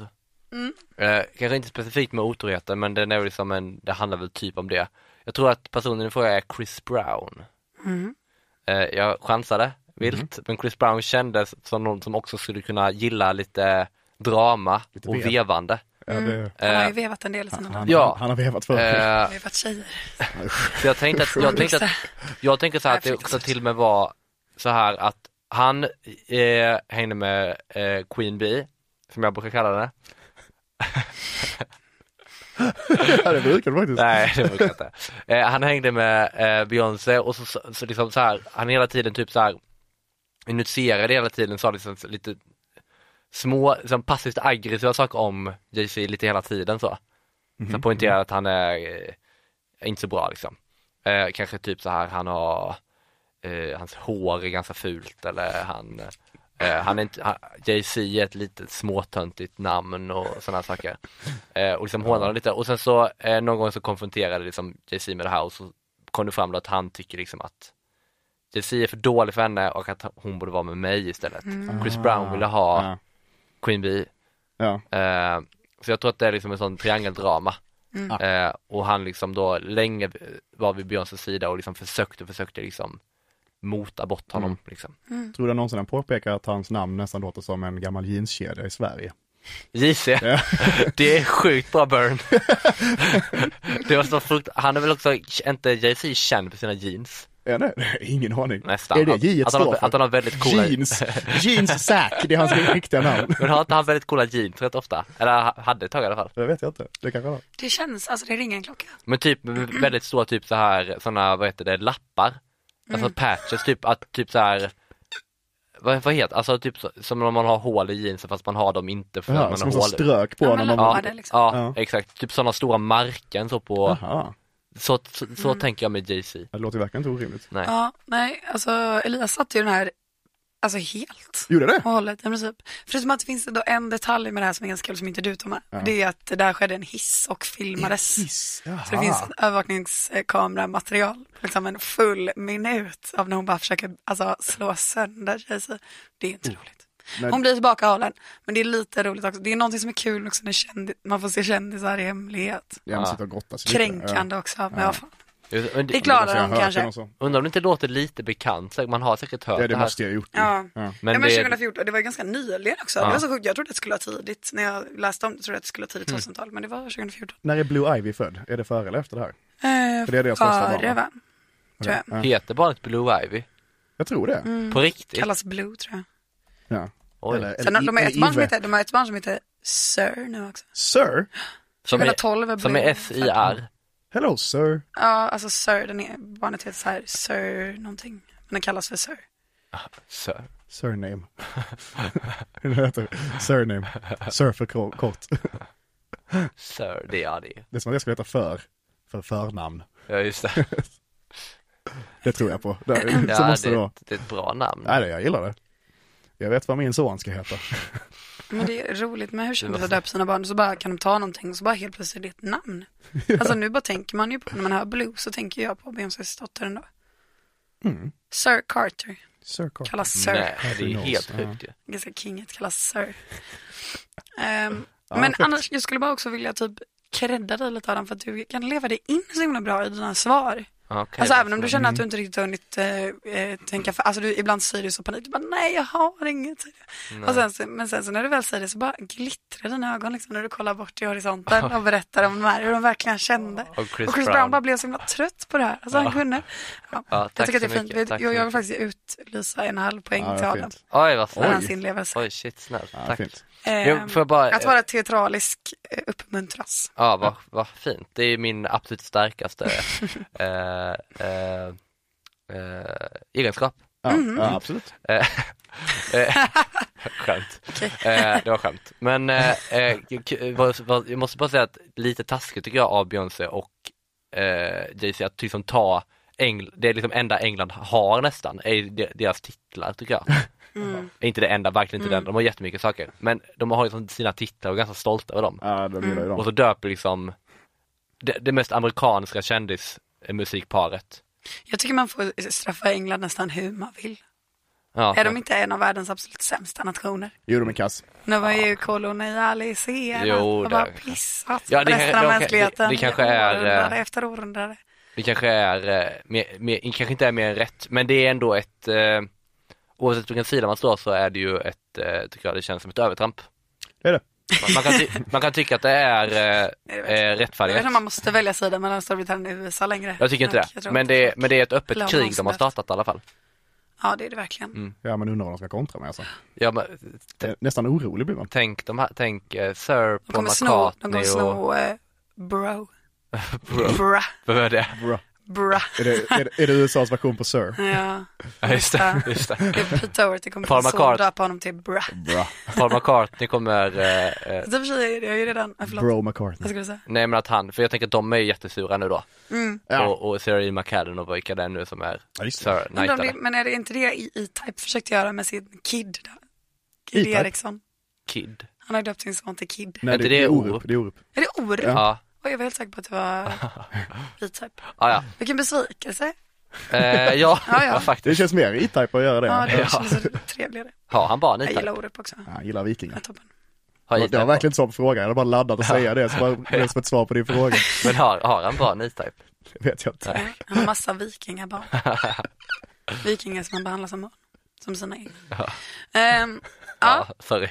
Speaker 5: Eh, kanske inte specifikt med otroheten men den är väl liksom en, det handlar väl typ om det. Jag tror att personen i fråga är Chris Brown. Eh, jag chansade vilt, men Chris Brown kändes som någon som också skulle kunna gilla lite drama
Speaker 4: Lite
Speaker 5: och
Speaker 4: vev.
Speaker 5: vevande.
Speaker 4: Ja, det,
Speaker 3: han har ju vevat en del i sina dagar.
Speaker 4: Mm. Eh, han,
Speaker 5: Ja.
Speaker 4: han har vevat för.
Speaker 5: Eh,
Speaker 3: Han har vevat tjejer.
Speaker 5: så jag tänkte att, jag tänkte att, jag tänker så här att det också till och med var så här att Han eh, hängde med eh, Queen Bee, som jag brukar kalla henne.
Speaker 4: Ja, det brukar du faktiskt.
Speaker 5: Nej, det brukar jag inte. Eh, han hängde med eh, Beyoncé och så, så, så liksom så här, han hela tiden typ så här initierade hela tiden, sa liksom lite små, liksom passivt aggressiva saker om Jay-Z lite hela tiden så. Så han poängterar att han är eh, inte så bra liksom. Eh, kanske typ så här, han har, eh, hans hår är ganska fult eller han, eh, han är inte, han, Jay-Z är ett litet småtöntigt namn och sådana saker. Eh, och liksom hånade lite och sen så eh, någon gång så konfronterade liksom Jay-Z med det här och så kom det fram då att han tycker liksom att Jay-Z är för dålig för henne och att hon borde vara med mig istället. Chris Brown ville ha
Speaker 4: Ja.
Speaker 5: Queen Bee
Speaker 4: Ja.
Speaker 5: Eh, så jag tror att det är liksom en sån triangeldrama. Eh, och han liksom då länge var vid Beyoncés sida och liksom försökte, försökte liksom mota bort honom liksom.
Speaker 4: Tror du någonsin han påpekar att hans namn nästan låter som en gammal jeanskedja i Sverige?
Speaker 5: JC, *laughs* det är sjukt bra burn. det var så frukt... Han är väl också, inte Jay-Z känd för sina jeans?
Speaker 4: Ja, nej, nej, *laughs* ingen aning.
Speaker 5: Nästan.
Speaker 4: Är det
Speaker 5: Att-
Speaker 4: J
Speaker 5: att han har-
Speaker 4: står för?
Speaker 5: att han har väldigt coola- *laughs*
Speaker 4: Jeans, jeans Zack, det är hans riktiga namn.
Speaker 5: Men har inte han väldigt coola jeans rätt ofta? Eller ha- hade ett tag i alla fall.
Speaker 4: Det vet jag inte, det kanske han har.
Speaker 3: Det känns, alltså det ringer en klocka.
Speaker 5: Men typ väldigt stora typ så här sådana, vad heter det, lappar. Alltså
Speaker 3: Mm.
Speaker 5: patches, typ att typ så här vad, vad heter alltså typ så, som när man har hål i jeansen fast man har dem inte för att
Speaker 4: Ja,
Speaker 5: man
Speaker 4: som
Speaker 5: har
Speaker 4: så
Speaker 5: hål.
Speaker 4: strök på
Speaker 3: Ja,
Speaker 4: honom.
Speaker 3: men
Speaker 4: om-
Speaker 3: lappar.
Speaker 5: Ja,
Speaker 3: Ja, det liksom.
Speaker 5: ja,
Speaker 4: Ja.
Speaker 5: exakt, typ sådana stora marken så på,
Speaker 4: Aha,
Speaker 5: så, så, så
Speaker 3: Mm.
Speaker 5: tänker jag med Jay-Z.
Speaker 4: det låter verkligen inte orimligt.
Speaker 5: Nej.
Speaker 3: Ja, nej, alltså Elias satte ju den här, alltså helt.
Speaker 4: Gjorde det?
Speaker 3: och hållet i princip. Förutom att det finns då en detalj med det här som är ganska kul som inte du tog med. Det är att det där skedde en hiss och filmades.
Speaker 4: Hiss, jaha.
Speaker 3: Så det finns ett övervakningskameramaterial, liksom en full minut av när hon bara försöker alltså, slå sönder sig. Det är inte roligt.
Speaker 4: Men-
Speaker 3: Hon blir tillbakahållen, men det är lite roligt också. Det är någonting som är kul också när kändis, man får se kändisar i hemlighet.
Speaker 4: Ja, man
Speaker 5: Ja.
Speaker 4: sitter och grottar sig lite.
Speaker 3: Kränkande också, men vad fan.
Speaker 5: Det, men,
Speaker 3: Det
Speaker 5: det,
Speaker 4: Ja. Så
Speaker 3: klarar
Speaker 4: jag har
Speaker 3: de
Speaker 4: hört den
Speaker 3: kanske.
Speaker 4: också.
Speaker 5: undrar om det inte låter lite bekant, säkert- man har säkert hört
Speaker 4: Ja,
Speaker 5: det
Speaker 4: det
Speaker 5: här.
Speaker 4: måste jag ha gjort. ju.
Speaker 3: Ja.
Speaker 4: Ja.
Speaker 3: Men, ja, men
Speaker 5: det-
Speaker 3: 2014, det var ju ganska nyligen också. Det var så sjukt, jag trodde att det skulle vara tidigt. När jag läste om det trodde jag att det skulle vara tidigt 2000-tal, men det var 2014.
Speaker 4: När är Blue Ivy född? Är det före eller efter det här?
Speaker 3: Eh,
Speaker 4: För det är deras första barn, va?
Speaker 3: va? Tror jag.
Speaker 5: Heter barnet Blue Ivy?
Speaker 4: Jag tror det.
Speaker 3: Mm.
Speaker 5: På riktigt?
Speaker 3: Kallas Blue tror jag.
Speaker 4: Ja.
Speaker 5: Oj.
Speaker 3: Sen har de, har
Speaker 4: eller
Speaker 3: ett barn som
Speaker 4: Ive.
Speaker 3: heter, de har ett barn som heter Sir nu också.
Speaker 4: Sir?
Speaker 5: Som är,
Speaker 3: 2012 är
Speaker 5: som är
Speaker 3: Blue.
Speaker 5: S-I-R?
Speaker 4: Hello sir.
Speaker 3: Ja, alltså Sir, den är, barnet heter så här Sir någonting. Men den kallas för Sir.
Speaker 5: Sir. *laughs*
Speaker 4: Surname. det heter surname. Sir för ko- kort.
Speaker 5: Sir, det är det.
Speaker 4: Det är som att jag skulle heta för. För förnamn. *laughs*
Speaker 5: Ja, just det.
Speaker 4: Det tror jag på.
Speaker 5: *clears throat*
Speaker 4: Det, så
Speaker 5: Ja,
Speaker 4: måste
Speaker 5: det,
Speaker 4: det
Speaker 5: är
Speaker 4: vara.
Speaker 5: ett- det är ett bra namn.
Speaker 4: Nej, det- jag gillar det. Jag vet vad min son ska heta.
Speaker 3: Men det är roligt med hur kändisar döper sina barn. Så bara kan de ta någonting så bara helt plötsligt är det ett namn. Alltså nu bara tänker man ju på, när man hör Blue så tänker jag på Beyoncés dotter ändå. Sir Carter,
Speaker 4: Sir Carter.
Speaker 3: kallas Sir.
Speaker 5: Nej, det är ju
Speaker 4: Knows.
Speaker 5: helt
Speaker 4: Ja.
Speaker 5: sjukt ju.
Speaker 3: ganska kinget kallas Sir. Ehm, men annars, jag skulle bara också vilja typ credda dig lite Adam för att du kan leva dig in så himla bra i dina svar.
Speaker 5: Okej,
Speaker 3: alltså
Speaker 5: det
Speaker 3: även om du känner att
Speaker 5: Mm.
Speaker 3: du inte riktigt har hunnit eh, eh, tänka för, alltså du, ibland säger du så panik, du bara nej jag har inget. Och sen, så- men sen så när du väl säger det så bara glittrar dina ögon liksom när du kollar bort i horisonten och berättar om de här, hur de verkligen kände.
Speaker 5: Och Chris
Speaker 3: och Chris Brown.
Speaker 5: Brown
Speaker 3: bara blev så himla trött på det här, alltså han kunde. Ja, jag
Speaker 5: tack
Speaker 3: tycker att det
Speaker 5: så
Speaker 3: är fint,
Speaker 5: mycket, tack så
Speaker 3: jag, jag vill
Speaker 5: mycket.
Speaker 3: faktiskt utlysa en halv poäng
Speaker 4: Ja,
Speaker 3: till
Speaker 4: vad
Speaker 3: Adam
Speaker 4: fint.
Speaker 5: Oj, vad
Speaker 3: för hans
Speaker 5: snällt.
Speaker 3: inlevelse.
Speaker 5: Oj, shit, snällt.
Speaker 4: Ja,
Speaker 5: Tack.
Speaker 4: fint.
Speaker 5: Jag- får jag bara-
Speaker 3: Ehm, att vara teatralisk eh, uppmuntras.
Speaker 5: Ja, vad, vad fint. Det är min
Speaker 3: *laughs*
Speaker 5: absolut starkaste eh, eh, eh, egenskap.
Speaker 4: Ja,
Speaker 5: Mhm.
Speaker 4: ja, absolut.
Speaker 5: Eh, *laughs* Skämt. Eh, det var skämt. Men eh, eh, k- vad- vad- jag måste bara säga att lite taskigt tycker jag av Beyoncé och eh, Jay-Z att liksom ta Engl- det är liksom enda England har nästan, är ju de- deras titlar tycker jag.
Speaker 3: Mm.
Speaker 5: Inte det enda, verkligen inte den, de har jättemycket saker. Men de har liksom sina titlar och är ganska stolta över dem.
Speaker 4: Ja, de gillar ju
Speaker 5: Och
Speaker 4: dem.
Speaker 5: så döper liksom det, det mest amerikanska kändismusikparet.
Speaker 3: Jag tycker man får straffa England nästan hur man vill.
Speaker 5: Ja,
Speaker 3: Är de inte en av världens absolut sämsta nationer?
Speaker 4: Jo, de är kass.
Speaker 3: Nu var ju kolonialiserade
Speaker 5: Jo,
Speaker 3: och bara
Speaker 5: det-
Speaker 3: pissat
Speaker 5: Ja,
Speaker 3: ja,
Speaker 5: det
Speaker 3: det,
Speaker 5: kan-
Speaker 3: resten av
Speaker 5: de kan-
Speaker 3: mänskligheten.
Speaker 5: det- det kanske är, eh,
Speaker 3: Århundrade efter århundrade.
Speaker 5: det kanske är, eh, mer, mer, kanske inte är mer än rätt, men det är ändå ett, eh, oavsett vilken sida man står så är det ju ett, eh, tycker jag det känns som ett övertramp.
Speaker 4: Det är det.
Speaker 5: Man, man, kan, ty- man kan tycka att det är eh, eh,
Speaker 3: Jag vet inte om
Speaker 5: rättfärdigt.
Speaker 3: man måste välja sida mellan Storbritannien och USA längre.
Speaker 5: Jag tycker inte
Speaker 3: Dock, jag
Speaker 5: det,
Speaker 3: tror
Speaker 5: men det, är- men det är ett
Speaker 3: Plan
Speaker 5: öppet krig de har
Speaker 3: avsnitt.
Speaker 5: startat i alla fall.
Speaker 3: Ja, det är det verkligen.
Speaker 5: Mm,
Speaker 4: Ja men undrar vad de ska kontra med alltså.
Speaker 5: Ja, men,
Speaker 4: Eh, Nästan orolig blir man.
Speaker 5: tänk de här, tänk eh, Sir
Speaker 3: De
Speaker 5: Paul
Speaker 3: kommer sno, de kommer
Speaker 5: McCartney
Speaker 3: sno
Speaker 5: och...
Speaker 3: eh,
Speaker 5: *laughs*
Speaker 3: bro. Bra.
Speaker 5: Vad var det?
Speaker 4: Bra.
Speaker 3: Bra.
Speaker 4: Är det, är, det- är det USAs version på Sir?
Speaker 5: Mm.
Speaker 3: Ja,
Speaker 5: Ja, just det, just det.
Speaker 3: jag byter över till
Speaker 5: Paul
Speaker 3: kompis
Speaker 5: McCart-
Speaker 3: och döpa honom till bra.
Speaker 4: Bra.
Speaker 5: Paul McCartney kommer, eh, eh,
Speaker 3: Det för sig, är- jag är ju redan, ah, förlåt.
Speaker 4: Bro
Speaker 3: Vad
Speaker 4: McCartney.
Speaker 3: skulle du säga?
Speaker 5: nej men att han, för jag tänker att de är ju jättesura nu då.
Speaker 3: Mm.
Speaker 4: Ja.
Speaker 5: Och, och Sarah E. McCadden och vilka det är nu som är
Speaker 4: Ja, just det.
Speaker 5: Sir
Speaker 3: Men, de,
Speaker 5: Knightade.
Speaker 3: men är det inte det I- E-Type försökte göra med sin Kid? Då? Kid
Speaker 4: E-Type?
Speaker 3: Eriksson.
Speaker 5: Kid.
Speaker 3: Han har ju döpt sin son till Kid.
Speaker 4: Nej
Speaker 5: Inte
Speaker 4: det,
Speaker 5: det
Speaker 4: det är
Speaker 5: Orup?
Speaker 4: Orup, det är Orup.
Speaker 3: Är det Orup?
Speaker 5: Ja, ja.
Speaker 3: Oj, jag var helt säker på att det var E-Type.
Speaker 5: ja.
Speaker 3: Vilken besvikelse.
Speaker 5: Eh, ja,
Speaker 3: *laughs* Ja, ja.
Speaker 5: ja,
Speaker 4: Det
Speaker 5: faktiskt.
Speaker 4: känns mer E-Type att göra det.
Speaker 3: Ja, det
Speaker 4: Ja.
Speaker 3: känns så trevligare.
Speaker 5: Har han barn
Speaker 3: Jag
Speaker 5: i
Speaker 3: gillar
Speaker 5: Thailand?
Speaker 3: Orup också.
Speaker 4: Han gillar vikingar.
Speaker 3: Toppen.
Speaker 5: Har
Speaker 4: Det var
Speaker 5: E-Type
Speaker 4: verkligen en sån fråga, jag hade bara laddat att säga det, så bara,
Speaker 5: *laughs*
Speaker 4: det är som ett svar på din fråga.
Speaker 5: barn? Men har, har han barn i typ? E-Type?
Speaker 4: Det vet jag inte.
Speaker 5: Nej.
Speaker 3: Han har massa vikingabarn. Vikingar som han behandlar som barn. Som sina egna. Ehm, ja,
Speaker 5: Ja, sorry.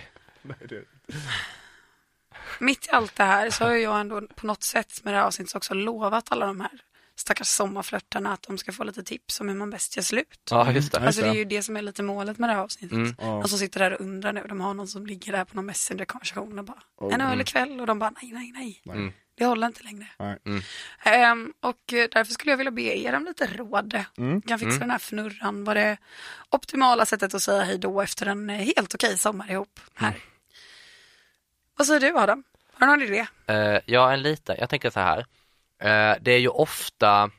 Speaker 3: mitt i allt det här så har ju jag ändå på något sätt med det här avsnittet också lovat alla de här stackars sommarflörtarna att de ska få lite tips om hur man bäst gör slut.
Speaker 5: Ja, just det.
Speaker 3: Alltså det är ju det som är lite målet med det här avsnittet.
Speaker 5: Mm.
Speaker 4: Ja.
Speaker 3: De som sitter där och undrar nu, de har någon som ligger där på någon messenger-konversation och bara en
Speaker 5: Mm.
Speaker 3: öl ikväll och de bara nej, nej, nej.
Speaker 4: Mm.
Speaker 3: Det håller inte längre.
Speaker 4: Nej.
Speaker 5: Mm.
Speaker 3: Ehm, och eh, därför skulle jag vilja be er om lite råd.
Speaker 4: Mm.
Speaker 3: Kan fixa
Speaker 5: Mm.
Speaker 3: den här fnurran, vad det optimala sättet att säga hej då efter en eh, helt okej sommar ihop.
Speaker 5: Mm.
Speaker 3: Här. Vad säger du Adam? Har du någon idé?
Speaker 5: Eh, ja, en liten. Jag tänker så här. Eh, det är ju ofta,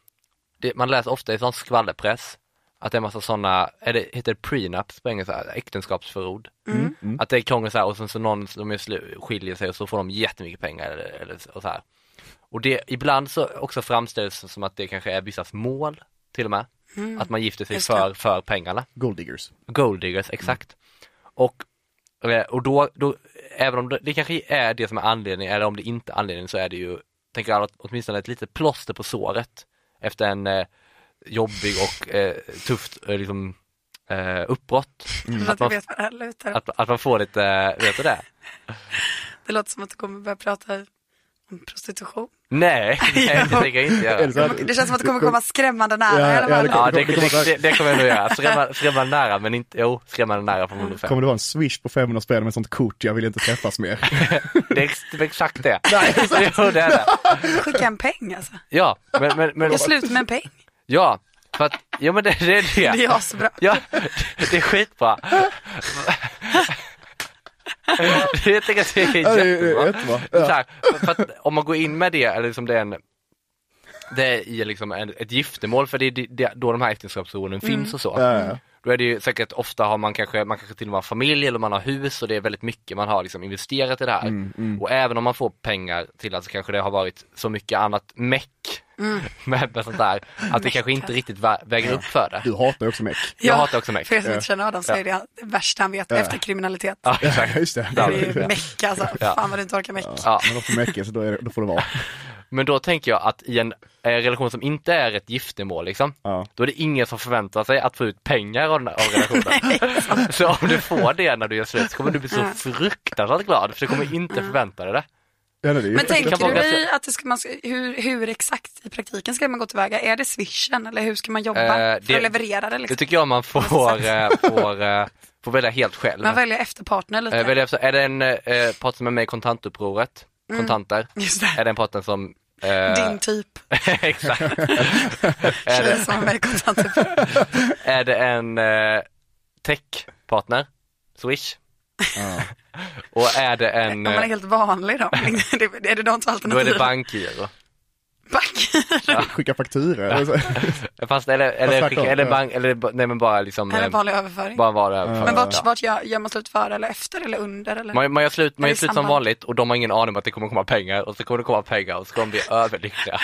Speaker 5: det, man läser ofta i sån skvallerpress, att det är en massa sådana, är det, heter det prenups på engelska, äktenskapsförord?
Speaker 3: Mm.
Speaker 5: Att det är krångel så här och sen så någon som är slu, skiljer sig och så får de jättemycket pengar eller, eller så- och så här. Och det, ibland så också framställs det som att det kanske är vissas mål till och med. Att man gifter sig
Speaker 3: Mm. Just det.
Speaker 5: för, för pengarna.
Speaker 4: Gold diggers.
Speaker 5: Golddiggers, exakt. Och, eh, och då, då, även om det, det kanske är det som är anledningen, eller om det inte är anledningen, så är det ju, tänker jag, åtminstone ett litet plåster på såret efter en eh, jobbig och eh, tufft eh, liksom, eh, uppbrott.
Speaker 3: För
Speaker 5: Att,
Speaker 3: att jag
Speaker 5: man,
Speaker 3: vet vad det här lutar.
Speaker 5: att, att man får lite, eh, vet du det?
Speaker 3: Det låter som att du kommer börja prata om prostitution.
Speaker 5: *laughs* Nej, nej det tänker jag inte
Speaker 4: Är
Speaker 5: göra.
Speaker 4: det så här-
Speaker 3: Det känns som att du kommer komma skrämmande nära
Speaker 4: Ja,
Speaker 3: i alla
Speaker 4: ja,
Speaker 3: fall.
Speaker 4: det
Speaker 5: Ja, det, det, det, det kommer jag nog göra. Skrämmande, skrämmande nära, men inte, jo, skrämmande nära på 105.
Speaker 4: Kommer det vara en swish på 500 spänn med ett sånt kort, jag vill inte träffas mer.
Speaker 5: Det är ex- det är exakt det. Nej, jo, det är det.
Speaker 3: Skicka en peng alltså.
Speaker 5: Ja, men, men, men
Speaker 3: Jag slutar med en peng.
Speaker 5: Ja, för att, ja men det, det är det.
Speaker 3: *laughs* Det är asbra.
Speaker 5: Ja, det är skitbra. Jag tycker att det
Speaker 4: Ja,
Speaker 5: är
Speaker 4: det är- det
Speaker 5: jättebra.
Speaker 4: är jättebra. Ja.
Speaker 5: Så här, för att om man går in med det, eller liksom det är en det är i liksom en, ett giftermål, för det är det- det, då de här äktenskapsorden finns och så.
Speaker 4: Mm. Ja.
Speaker 5: Då är det ju säkert ofta har man kanske, man kanske till och med har familj eller man har hus och det är väldigt mycket man har liksom investerat i det här.
Speaker 4: Mm,
Speaker 5: Och även om man får pengar till att så kanske det har varit så mycket annat meck med, med sånt där, att det kanske inte riktigt vä- väger upp för det.
Speaker 4: Du hatar ju också meck.
Speaker 5: Jag hatar också meck.
Speaker 3: För er som inte känner Adam så är det det värsta han vet efter kriminalitet.
Speaker 5: Ja,
Speaker 4: Ja,
Speaker 5: exakt.
Speaker 4: just det.
Speaker 3: Det
Speaker 5: Ja,
Speaker 3: är ju
Speaker 5: ja.
Speaker 3: meck alltså.
Speaker 5: Ja.
Speaker 3: Fan vad du inte orkar meck.
Speaker 5: Ja.
Speaker 4: Men de får mecka, så då, är det, då får det vara.
Speaker 5: Men då tänker jag att i en eh, relation som inte är ett giftermål liksom,
Speaker 4: Ja.
Speaker 5: då är det ingen som förväntar sig att få ut pengar av, den- av relationen. så om du får det när du gör slut så kommer du bli så fruktansvärt glad, för du kommer inte förvänta dig det.
Speaker 4: Ja, nej, det är ju-
Speaker 3: Men tänker
Speaker 5: vara
Speaker 3: du
Speaker 5: ganska-
Speaker 3: dig att det ska man, ska- hur, hur exakt i praktiken ska man gå tillväga? Är det swishen eller hur ska man jobba
Speaker 5: Eh,
Speaker 3: för
Speaker 5: det-
Speaker 3: att leverera det?
Speaker 5: Det
Speaker 3: Liksom?
Speaker 5: tycker jag man får, eh, får, eh, får välja helt själv.
Speaker 3: Man väljer efter partner lite.
Speaker 5: Eh, välja efter- är det en eh, part som är med i kontantupproret, kontanter,
Speaker 3: Just
Speaker 5: är
Speaker 3: det.
Speaker 5: den parten som eh,
Speaker 3: Din typ,
Speaker 5: *laughs* exakt. är,
Speaker 3: tjej
Speaker 5: det,
Speaker 3: som har mig
Speaker 5: *laughs*
Speaker 3: kontant.
Speaker 5: är det en eh, techpartner, Swish? *laughs* Och är det
Speaker 3: Om
Speaker 5: en, eh,
Speaker 3: man är helt vanlig
Speaker 5: *laughs*
Speaker 3: då. *laughs* Det- Är det de två
Speaker 5: då är
Speaker 3: alternativen?
Speaker 5: det bankgiro.
Speaker 3: Back.
Speaker 4: Skicka fakturor. Alltså, eller så.
Speaker 5: Fast eller, eller,
Speaker 4: tvärtom,
Speaker 5: skicka, eller
Speaker 4: ja.
Speaker 5: bank, eller ba- nej men bara
Speaker 3: *laughs*
Speaker 5: liksom,
Speaker 3: Eller
Speaker 5: eh,
Speaker 3: vanlig överföring.
Speaker 5: bara vara överförd.
Speaker 3: Men vart, vart gör, gör man slut före eller efter eller under? Eller?
Speaker 5: Man, man gör slut, man
Speaker 3: Är
Speaker 5: gör
Speaker 3: det
Speaker 5: slut som
Speaker 3: samband?
Speaker 5: vanligt och de har ingen aning om att det kommer komma pengar och så kommer det komma pengar och så kommer de bli
Speaker 3: *laughs*
Speaker 5: överlyckliga.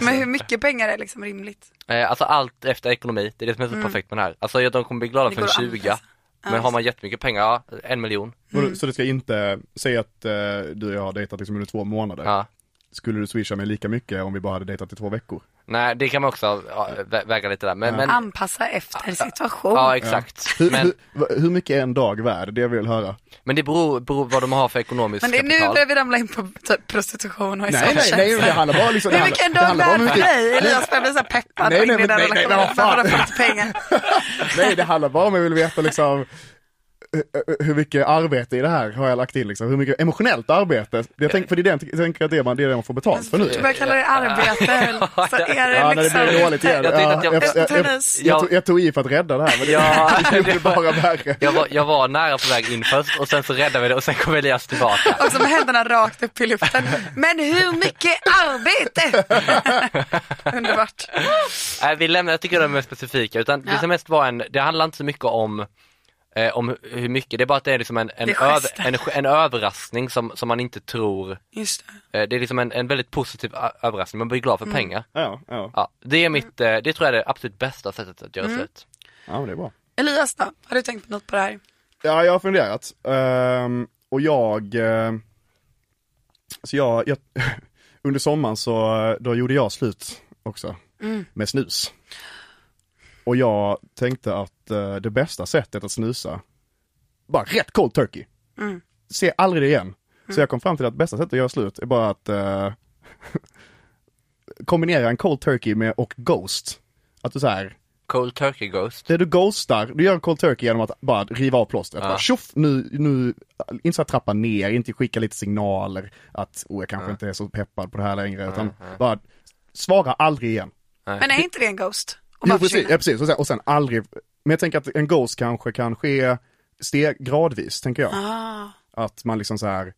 Speaker 3: Men hur mycket pengar är liksom rimligt?
Speaker 5: Eh, Alltså allt efter ekonomi, det är det som är så perfekt med det här. Alltså ja, de kommer bli glada
Speaker 3: Mm. Det
Speaker 5: för en
Speaker 3: går att
Speaker 5: 20
Speaker 3: anpassa. Ja,
Speaker 5: men har man jättemycket pengar, ja, en miljon.
Speaker 4: *laughs* Vadå, Så du ska inte, säga att eh, du och jag har dejtat liksom under två månader.
Speaker 5: Ja.
Speaker 4: Skulle du swisha mig lika mycket om vi bara hade dejtat i två veckor?
Speaker 5: Nej, det kan man också ja, vä- väga lite där. Men, men
Speaker 3: Anpassa efter situation.
Speaker 5: Mm. ja, exakt.
Speaker 4: Hur,
Speaker 5: Men,
Speaker 4: hur, hur mycket är en dag värd? Det vill jag höra.
Speaker 5: men det beror, beror vad de har för ekonomiskt
Speaker 3: Men det är nu
Speaker 5: kapital.
Speaker 3: börjar vi ramla in på typ prostitution och
Speaker 4: Nej, nej, nej, det handlar bara liksom, det
Speaker 3: Men
Speaker 4: handlar,
Speaker 3: vilken
Speaker 4: det
Speaker 3: dag
Speaker 4: handlar bara om
Speaker 3: värd
Speaker 4: hur
Speaker 3: för
Speaker 4: mycket,
Speaker 3: dig? Elias börjar bli så här peppad
Speaker 4: Nej,
Speaker 3: in
Speaker 4: nej,
Speaker 3: i
Speaker 4: men-
Speaker 3: den
Speaker 4: nej, nej,
Speaker 3: relationen.
Speaker 4: vad fan.
Speaker 3: Vadå, får inte pengar?
Speaker 4: nej, det handlar bara om jag vill veta liksom eh, hur- hur mycket arbete i det här har jag lagt in liksom, hur mycket emotionellt arbete? Jag tänker, för det är det jag tänker att det är, man, det är det man får betalt för nu.
Speaker 3: Du börjar kalla det arbete. Så är
Speaker 4: *laughs*
Speaker 3: det
Speaker 4: Ja, när det blir
Speaker 3: liksom... Eh,
Speaker 4: dåligt igen.
Speaker 5: Jag tänkte att jag-
Speaker 4: Ja, jag, jag, jag,
Speaker 3: Tennis.
Speaker 4: jag, tog, jag tog i för att rädda det här, men
Speaker 3: *laughs*
Speaker 4: det,
Speaker 5: Ja,
Speaker 4: *laughs* det blev bara värre.
Speaker 5: jag, var, jag var nära på väg in först och sen så räddade vi det och sen kom Elias tillbaka.
Speaker 3: Och så med händerna rakt upp i luften. Men hur mycket
Speaker 4: *laughs*
Speaker 3: arbete? Underbart.
Speaker 5: *laughs* Nej, vi lämnar, jag tycker de är mer specifika, utan det
Speaker 3: Ja.
Speaker 5: som mest var en, det handlar inte så mycket om eh, om hu- hur mycket, det är bara att det är liksom en, en,
Speaker 3: Det är gesten.
Speaker 5: en, en överraskning som, som man inte tror,
Speaker 3: Just det.
Speaker 5: eh, det är liksom en, en väldigt positiv ö- överraskning, man blir glad
Speaker 3: Mm.
Speaker 5: för pengar.
Speaker 4: Ja, ja,
Speaker 5: Ja, det är mitt, eh, det tror jag är det absolut bästa sättet att göra
Speaker 3: Mm.
Speaker 5: slut.
Speaker 4: ja, men det är bra.
Speaker 3: Elias då? Har du tänkt på något på det här?
Speaker 4: Ja, jag har funderat. Ehm, och jag... ehm, så jag, *laughs* jag... Under sommaren så, eh, då gjorde jag slut också. Med snus. Och jag tänkte att eh, det bästa sättet att snusa, bara rätt cold turkey. Se aldrig det igen. Så jag kom fram till att bästa sättet att göra slut är bara att eh, *laughs* kombinera en cold turkey med och ghost. Att du så här
Speaker 5: Cold Turkey Ghost.
Speaker 4: det du ghostar, du gör en cold turkey genom att bara riva av plåstret.
Speaker 5: Ja.
Speaker 4: Bara, Tjoff, nu, nu, inte så här trappa ner, inte skicka lite signaler att oh, jag kanske inte är så peppad på det här längre, utan bara svara aldrig igen.
Speaker 3: Men är inte det en ghost? Och
Speaker 4: Jo,
Speaker 3: bara
Speaker 4: precis,
Speaker 3: försvinna?
Speaker 4: ja, precis. Och, sen, och sen aldrig, men jag tänker att en ghost kanske kan ske steg, gradvis, tänker jag.
Speaker 3: Ah,
Speaker 4: Att man liksom så här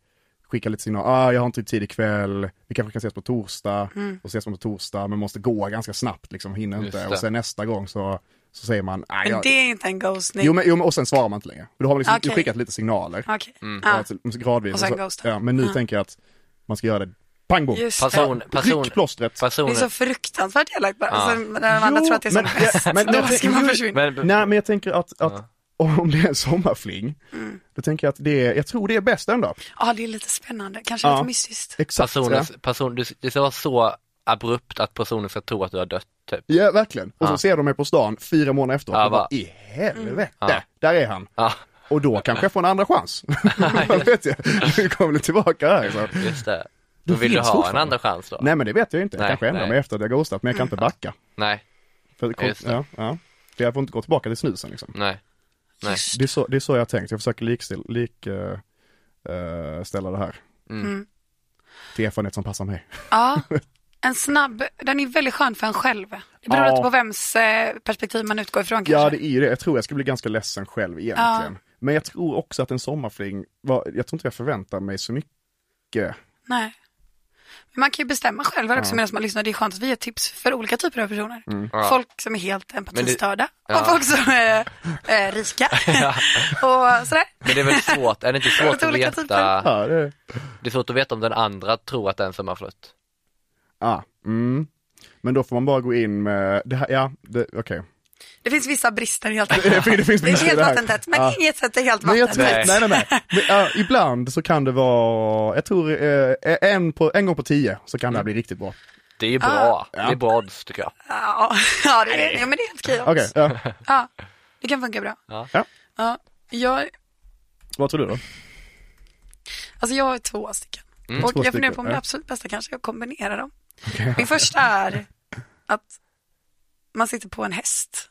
Speaker 4: skickar lite signaler, ah, jag har inte tid ikväll, vi kanske kan ses på torsdag, och ses man på torsdag, men måste gå ganska snabbt liksom, hinner
Speaker 5: Just
Speaker 4: inte.
Speaker 5: det.
Speaker 4: Och sen nästa gång så, så säger man, "Ah,
Speaker 3: men
Speaker 4: jag,
Speaker 3: det är inte en ghostning.
Speaker 4: Jo men, jo men och sen svarar man inte längre. Då har man liksom
Speaker 3: Okej.
Speaker 4: skickat lite signaler.
Speaker 3: Okej.
Speaker 5: Mm.
Speaker 4: Ja,
Speaker 3: Ah,
Speaker 4: till- Gradvis.
Speaker 3: Och sen
Speaker 4: Och så-
Speaker 3: ghostar.
Speaker 4: ja, men nu tänker jag att man ska göra det pang bom.
Speaker 3: just det.
Speaker 5: Person, Ah. person,
Speaker 4: Ryck plåstret.
Speaker 3: Det är
Speaker 5: personen.
Speaker 3: så fruktansvärt elakt bara.
Speaker 5: Ja.
Speaker 3: Och sen när de andra
Speaker 4: Jo,
Speaker 3: tror att det är som
Speaker 4: men-
Speaker 3: bäst,
Speaker 4: men- men-
Speaker 3: då ska man försvinna.
Speaker 5: Men,
Speaker 4: Nej men jag tänker att, att om det är en sommarfling,
Speaker 3: Mm.
Speaker 4: då tänker jag att det är, jag tror det är bäst ändå.
Speaker 3: Ja, Ah, det är lite spännande. Kanske
Speaker 4: Ja.
Speaker 3: lite mystiskt.
Speaker 4: Exakt.
Speaker 5: personen,
Speaker 4: Ja.
Speaker 5: person, du- det ska vara så abrupt att personen ska tro att du har dött, typ.
Speaker 4: ja verkligen. Och så
Speaker 5: Ja.
Speaker 4: ser de mig på stan fyra månader efteråt
Speaker 5: Ja,
Speaker 4: och bara,
Speaker 5: va. Mm.
Speaker 4: i helvete,
Speaker 5: Ja.
Speaker 4: där är han.
Speaker 5: Ja,
Speaker 4: Och då kanske jag får en
Speaker 5: *laughs*
Speaker 4: andra chans. *laughs* Vad vet jag, nu kommer det tillbaka här. Så.
Speaker 5: just det. Då
Speaker 4: Det
Speaker 5: vill du
Speaker 4: finns
Speaker 5: ha en
Speaker 4: fortfarande.
Speaker 5: andra chans då?
Speaker 4: Nej men det vet jag inte, jag
Speaker 5: Nej,
Speaker 4: kanske ändrar
Speaker 5: nej.
Speaker 4: mig efter att jag ghostat, men jag kan inte
Speaker 3: Mm.
Speaker 4: backa.
Speaker 5: Nej,
Speaker 4: För, det kom-
Speaker 5: just det.
Speaker 4: ja, ja. För jag får inte gå tillbaka till snusen liksom.
Speaker 5: nej. Nej.
Speaker 4: Det är, så, det är så jag har tänkt, jag försöker likställa lik, eh, eh, ställa det här. Mm. Till erfarenhet som passar mig.
Speaker 3: Ja, en snabb, den är väldigt skön för en själv. Det beror
Speaker 4: Ja.
Speaker 3: lite på vems eh, perspektiv man utgår ifrån kanske.
Speaker 4: *laughs* Ja det är ju det, jag tror jag ska bli ganska ledsen själv egentligen. Men jag tror också att en sommarfling, var, jag tror inte jag förväntar mig så mycket.
Speaker 3: Nej. Men man kan ju bestämma själv här också medan man lyssnar. Det är skönt att vi ger tips för olika typer av personer.
Speaker 4: Mm.
Speaker 5: Ja.
Speaker 3: Folk som är helt empatistörda
Speaker 5: Men det-
Speaker 3: och
Speaker 5: ja.
Speaker 3: folk som är eh,
Speaker 5: *laughs*
Speaker 3: rika. och sådär.
Speaker 5: Men det är väl svårt, är det inte svårt
Speaker 3: Lite *laughs*
Speaker 5: att
Speaker 3: olika typer.
Speaker 5: veta,
Speaker 4: Ja, det,
Speaker 5: det är svårt att veta om den andra tror att det är en sommarflört?
Speaker 4: ah, mm. Men då får man bara gå in med, det här, ja, det- okej.
Speaker 3: Det finns vissa brister
Speaker 4: *laughs*
Speaker 3: helt
Speaker 4: Det
Speaker 3: enkelt.
Speaker 4: finns- det finns
Speaker 3: Det är
Speaker 4: brister i
Speaker 3: helt
Speaker 4: det här.
Speaker 3: vattentätt, men
Speaker 4: Ja.
Speaker 3: inget sätt är helt
Speaker 4: Men jag tror, nej
Speaker 3: vattentätt.
Speaker 4: nej *laughs* nej. Men, ja, ibland så kan det vara, jag tror eh, en, på, en gång på tio så kan det här bli riktigt bra.
Speaker 5: Det är ju bra,
Speaker 4: Ja.
Speaker 5: det är bra odds tycker jag.
Speaker 3: Ja, *laughs* ja, det är, ja, men det är helt okej
Speaker 4: Okej,
Speaker 3: också.
Speaker 4: ja. *laughs*
Speaker 3: Ja, det kan funka bra.
Speaker 5: Ja.
Speaker 4: Ja.
Speaker 3: Ja, jag,
Speaker 4: vad tror du då?
Speaker 3: alltså jag har två stycken. Och
Speaker 4: Två
Speaker 3: jag funderar
Speaker 4: stycken,
Speaker 3: på om det
Speaker 4: ja.
Speaker 3: absolut bästa kanske är att kombinera dem. Min första är att man sitter på en
Speaker 4: *laughs*
Speaker 3: häst.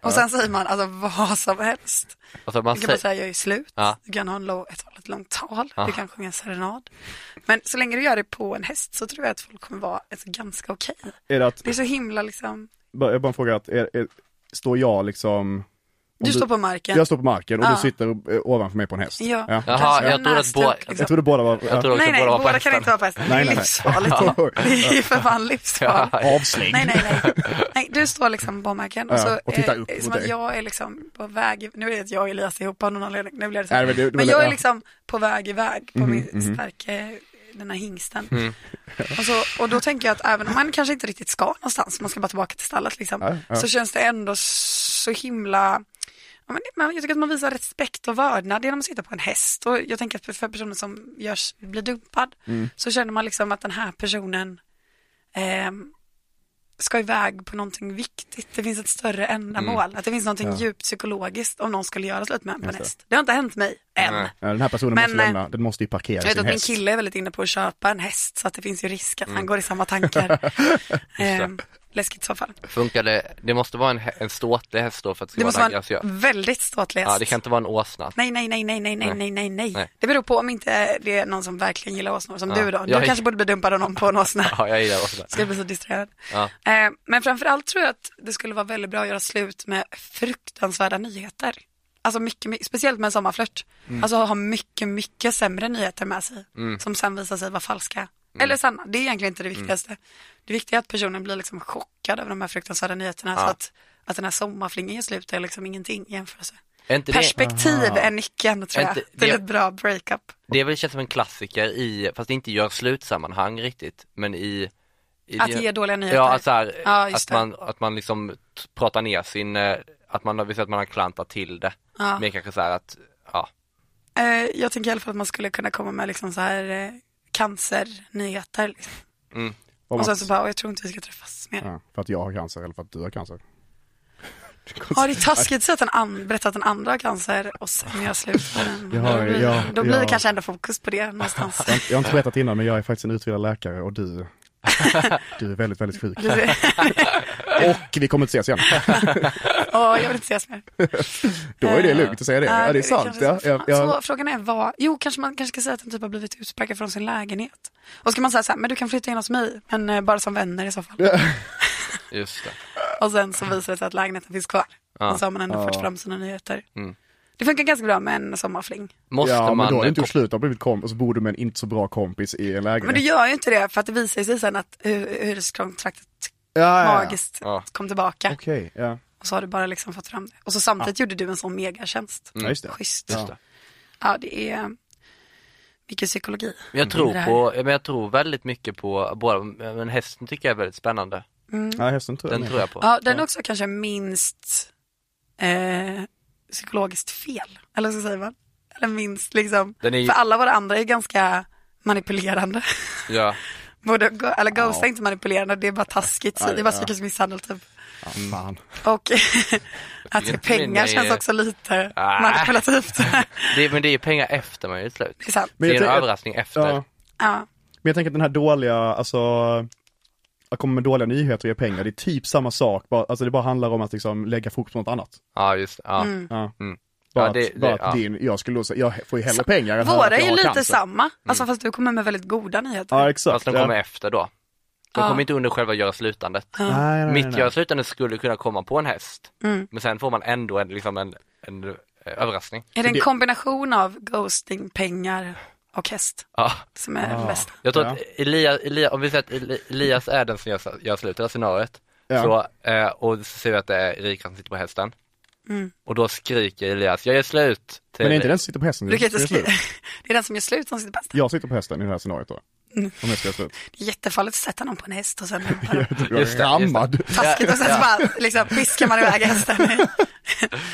Speaker 3: Och sen säger man alltså vad som helst.
Speaker 5: Alltså man
Speaker 3: Du kan bara
Speaker 5: säger,
Speaker 3: säga jag är slut,
Speaker 5: Ja.
Speaker 3: du kan ha en lång, ett, ett långt tal, du kan sjunga en serenad. Men så länge du gör det på en häst så tror jag att folk kommer vara alltså, ganska okej.
Speaker 4: Är det att,
Speaker 3: Det är så himla liksom,
Speaker 4: bara- jag bara frågar att, är, är, står jag liksom
Speaker 3: du,
Speaker 4: du-
Speaker 3: står på marken.
Speaker 4: Jag står på marken och
Speaker 3: Ja.
Speaker 4: du sitter eh, ovanför mig på en häst.
Speaker 3: Ja.
Speaker 5: jaha,
Speaker 3: kanske
Speaker 5: jag tror att
Speaker 3: nästan,
Speaker 5: båda,
Speaker 3: liksom.
Speaker 4: Jag trodde båda var
Speaker 5: jag tror
Speaker 3: Nej,
Speaker 5: också
Speaker 3: nej,
Speaker 5: båda var på
Speaker 3: båda kan
Speaker 5: hästen.
Speaker 3: inte vara på hästen. Det är
Speaker 4: Nej, nej.
Speaker 3: livsfarligt.
Speaker 4: *laughs*
Speaker 3: Det är ju för fan livsfarligt.
Speaker 5: *laughs* Ja.
Speaker 4: avslängd.
Speaker 3: Nej, nej,
Speaker 4: *laughs*
Speaker 3: nej. nej. Du står liksom på marken och
Speaker 4: Ja,
Speaker 3: så
Speaker 4: och tittar
Speaker 3: eh,
Speaker 4: upp mot
Speaker 3: som att
Speaker 4: dig.
Speaker 3: jag är liksom på väg, nu är det att jag och Elias är ihop av någon anledning, nu blir det så.
Speaker 4: Nej, men det- det
Speaker 3: men
Speaker 4: var-
Speaker 3: jag är
Speaker 4: ja. Mm-hmm,
Speaker 3: liksom på väg iväg på min starka, den här hingsten.
Speaker 4: Mm.
Speaker 3: Och, så, och då tänker jag att även om man kanske inte riktigt ska någonstans, man ska bara tillbaka till stallet liksom,
Speaker 4: Ja, ja.
Speaker 3: så känns det ändå så himla Ja, men det- man- jag tycker att man visar respekt och vördnad genom att sitta på en häst och jag tänker att för personer som
Speaker 4: Mm.
Speaker 3: görs, blir dumpad så känner man liksom att den här personen ehm, ska iväg på någonting viktigt, det finns ett större ändamål,
Speaker 5: Mm.
Speaker 3: att det finns någonting djupt psykologiskt om någon skulle göra slut med en på en
Speaker 4: Just det.
Speaker 3: häst. Det har inte hänt mig än.
Speaker 5: Nej.
Speaker 4: Ja, Den här personen
Speaker 3: Men,
Speaker 4: måste
Speaker 3: eh,
Speaker 4: lämna, den måste ju parkera
Speaker 3: Jag vet
Speaker 4: sin
Speaker 3: att min
Speaker 4: häst.
Speaker 3: kille är väldigt inne på att köpa en häst så att det finns ju risk att
Speaker 5: Mm.
Speaker 3: han går i samma tankar.
Speaker 5: *laughs*
Speaker 3: eh, läskigt i så fall.
Speaker 5: Funkar det, det måste vara en, hä- en ståtlig häst då för att det
Speaker 3: Det
Speaker 5: ska
Speaker 3: måste
Speaker 5: vara en
Speaker 3: vara
Speaker 5: aggressiv.
Speaker 3: en väldigt ståtlig häst.
Speaker 5: alltså, Ja, det kan inte vara en åsna.
Speaker 3: Nej, nej, nej, nej, nej, nej, nej, nej, nej.
Speaker 5: Nej.
Speaker 3: Det beror på om inte det är någon som verkligen gillar åsnor som
Speaker 5: Ja.
Speaker 3: du då. Du
Speaker 5: Jag-
Speaker 3: kanske borde bli dumpad av någon på en åsna.
Speaker 5: *laughs* Ja, jag gillar åsna.
Speaker 3: Ska jag bli så distraherad.
Speaker 5: Ja.
Speaker 3: Eh, men framförallt tror jag att det skulle vara väldigt bra att göra slut med fruktansvärda nyheter. Alltså mycket, mycket speciellt med en sommarflört.
Speaker 5: Mm.
Speaker 3: Alltså ha mycket, mycket sämre nyheter med sig. Som sen visar sig vara falska.
Speaker 5: Mm.
Speaker 3: Eller sanna, det är egentligen inte det viktigaste. Det viktiga är att personen blir liksom chockad över de här fruktansvärda nyheterna. Så att, att den här sommarflingen i slutet är liksom ingenting i jämförelse.
Speaker 5: Är inte det,
Speaker 3: Perspektiv är nyckeln tror
Speaker 5: Är
Speaker 3: jag,
Speaker 5: inte det-
Speaker 3: till ett bra breakup.
Speaker 5: det är väl känns som en klassiker i, fast det inte gör slutsammanhang riktigt, men i, i
Speaker 3: Att ge dåliga nyheter.
Speaker 5: Ja, att, så här,
Speaker 3: Ja, just
Speaker 5: att,
Speaker 3: det.
Speaker 5: man, att man liksom t- pratar ner sin, eh, att man har visat att man har klantat till det.
Speaker 3: Ja.
Speaker 5: Men kanske så här att, ja,
Speaker 3: Eh, jag tänker i alla fall att man skulle kunna komma med liksom så här eh, cancernyheter. Liksom.
Speaker 4: Om
Speaker 3: Och sen
Speaker 4: att,
Speaker 3: så bara, "Åh, jag tror inte vi ska träffas mer. Ja,
Speaker 4: ja, för att jag har cancer eller för att du har cancer.
Speaker 3: det är taskigt att säga att den an- berätta att den andra har cancer och sen gör slut med den.
Speaker 4: Jag har-
Speaker 3: Då blir,
Speaker 4: jag-
Speaker 3: då blir det
Speaker 4: jag-
Speaker 3: kanske ändå fokus på det någonstans.
Speaker 4: Jag har, inte- jag har inte berättat innan men jag är faktiskt en utbildad läkare
Speaker 5: *laughs*
Speaker 4: och du, du är väldigt, väldigt sjuk. Och vi kommer inte ses igen.
Speaker 3: *laughs* Åh, jag vill inte ses mer. Eh,
Speaker 4: Då är det lugnt att säga det. Ja, det är sant.
Speaker 3: kanske
Speaker 4: Ja,
Speaker 3: så.
Speaker 4: jag, jag,
Speaker 3: Så frågan är vad, jo kanske man kanske ska säga att den typ har blivit utsparkad från sin lägenhet. Och ska man säga så här, men du kan flytta in hos mig, men eh, bara som vänner i så fall.
Speaker 5: just det.
Speaker 3: Och sen så visar det sig att lägenheten finns kvar. Och så har man ändå fört fram sina nyheter.
Speaker 5: Mm.
Speaker 3: Det funkar ganska bra med en sommarfling.
Speaker 5: Måste
Speaker 4: ja,
Speaker 5: man,
Speaker 4: men då har du
Speaker 5: eh,
Speaker 4: inte gjort
Speaker 5: kop-
Speaker 4: slut, du har blivit kompis och så bor du med en inte så bra kompis i en
Speaker 3: Men du
Speaker 5: Mm.
Speaker 4: lägenhet.
Speaker 3: gör ju inte det för att det visar sig sen att hy- hyreskontraktet
Speaker 4: Ja, ja, ja.
Speaker 3: magiskt
Speaker 5: Ja.
Speaker 3: kom tillbaka.
Speaker 4: Okej, ja.
Speaker 3: Och så har du bara liksom fått fram det. Och så samtidigt gjorde du en sån megatjänst.
Speaker 5: Mm.
Speaker 4: Ja, just det.
Speaker 3: Schysst.
Speaker 4: Ja.
Speaker 3: Ja, det är eh, mycket psykologi.
Speaker 5: Men jag
Speaker 3: i det
Speaker 5: tror
Speaker 3: här.
Speaker 5: på, ja, men jag tror väldigt mycket på båda, men hästen tycker jag är väldigt spännande.
Speaker 4: Ja, hästen tror jag.
Speaker 5: Den tror jag på.
Speaker 3: Ja, den är också kanske minst eh, psykologiskt fel. Eller så säger man. Eller minst liksom.
Speaker 5: Den är ju-
Speaker 3: För alla våra andra är ganska manipulerande.
Speaker 5: Ja.
Speaker 3: Både, go- eller ghost är inte manipulerande, det är bara taskigt. Så det är bara psykisk misshandel typ.
Speaker 4: Ja, fan.
Speaker 3: Och *laughs* att ge
Speaker 5: Inte
Speaker 3: pengar
Speaker 5: min,
Speaker 3: känns
Speaker 5: eh,
Speaker 3: också lite
Speaker 5: ah.
Speaker 4: *laughs*
Speaker 3: manipulativt.
Speaker 5: Det, är- men det är pengar efter man gör slut.
Speaker 3: det är sant.
Speaker 5: Det är en
Speaker 4: tänker-
Speaker 5: överraskning efter.
Speaker 4: Ja.
Speaker 3: Ja.
Speaker 4: Men jag tänker att den här dåliga, alltså, att komma med dåliga nyheter och ge pengar, det är typ samma sak, bara, alltså det bara handlar om att liksom lägga fokus på något annat.
Speaker 5: Ja, just det. ja.
Speaker 4: Ja.
Speaker 5: Mm.
Speaker 4: Bara
Speaker 5: Ja, det-
Speaker 4: att, bara
Speaker 5: det-
Speaker 4: att
Speaker 5: ja.
Speaker 4: din, jag skulle då säga, jag får ju hellre pengar än höra att
Speaker 3: Våra
Speaker 4: jag
Speaker 3: är ju
Speaker 4: har
Speaker 3: lite
Speaker 4: cancer. Mm.
Speaker 3: samma, alltså fast du kommer med väldigt goda nyheter.
Speaker 4: Ja, exakt.
Speaker 5: Fast de
Speaker 4: Ja.
Speaker 5: kommer efter då. De kommer inte under själva göra slutandet.
Speaker 3: Mm.
Speaker 4: Nej, nej, nej,
Speaker 5: Mitt
Speaker 4: nej.
Speaker 5: göra slutandet skulle kunna komma på en häst. Men sen får man ändå en, liksom en, en eh, överraskning.
Speaker 3: Är det en
Speaker 4: det-
Speaker 3: kombination av ghosting, pengar och häst
Speaker 5: Ja.
Speaker 3: som är
Speaker 4: Ah.
Speaker 3: den bästa?
Speaker 5: Jag tror
Speaker 4: Ja.
Speaker 5: att Elias, Elias, om vi säger att Eli- Elias är den som gör, gör slut, det här scenariot.
Speaker 4: Ja.
Speaker 5: Så, eh, och så ser vi att det är Erika som sitter på hästen. Och då skriker Elias, jag gör slut! Till
Speaker 4: Men det är inte den som sitter på hästen?
Speaker 3: Du kan inte
Speaker 4: det är
Speaker 3: skriva.
Speaker 4: slut.
Speaker 3: *laughs* Det är den som gör slut som sitter bäst.
Speaker 4: Jag sitter på hästen i det här scenariot då.
Speaker 3: Mm.
Speaker 4: Om jag ska göra slut.
Speaker 3: Det är jättefarligt att sätta någon på en häst
Speaker 4: *laughs*
Speaker 3: och sen
Speaker 4: Jag
Speaker 5: Just det,
Speaker 4: är
Speaker 5: just det.
Speaker 4: rammad.
Speaker 3: taskigt och sen så bara liksom piskar man iväg hästen
Speaker 4: *laughs*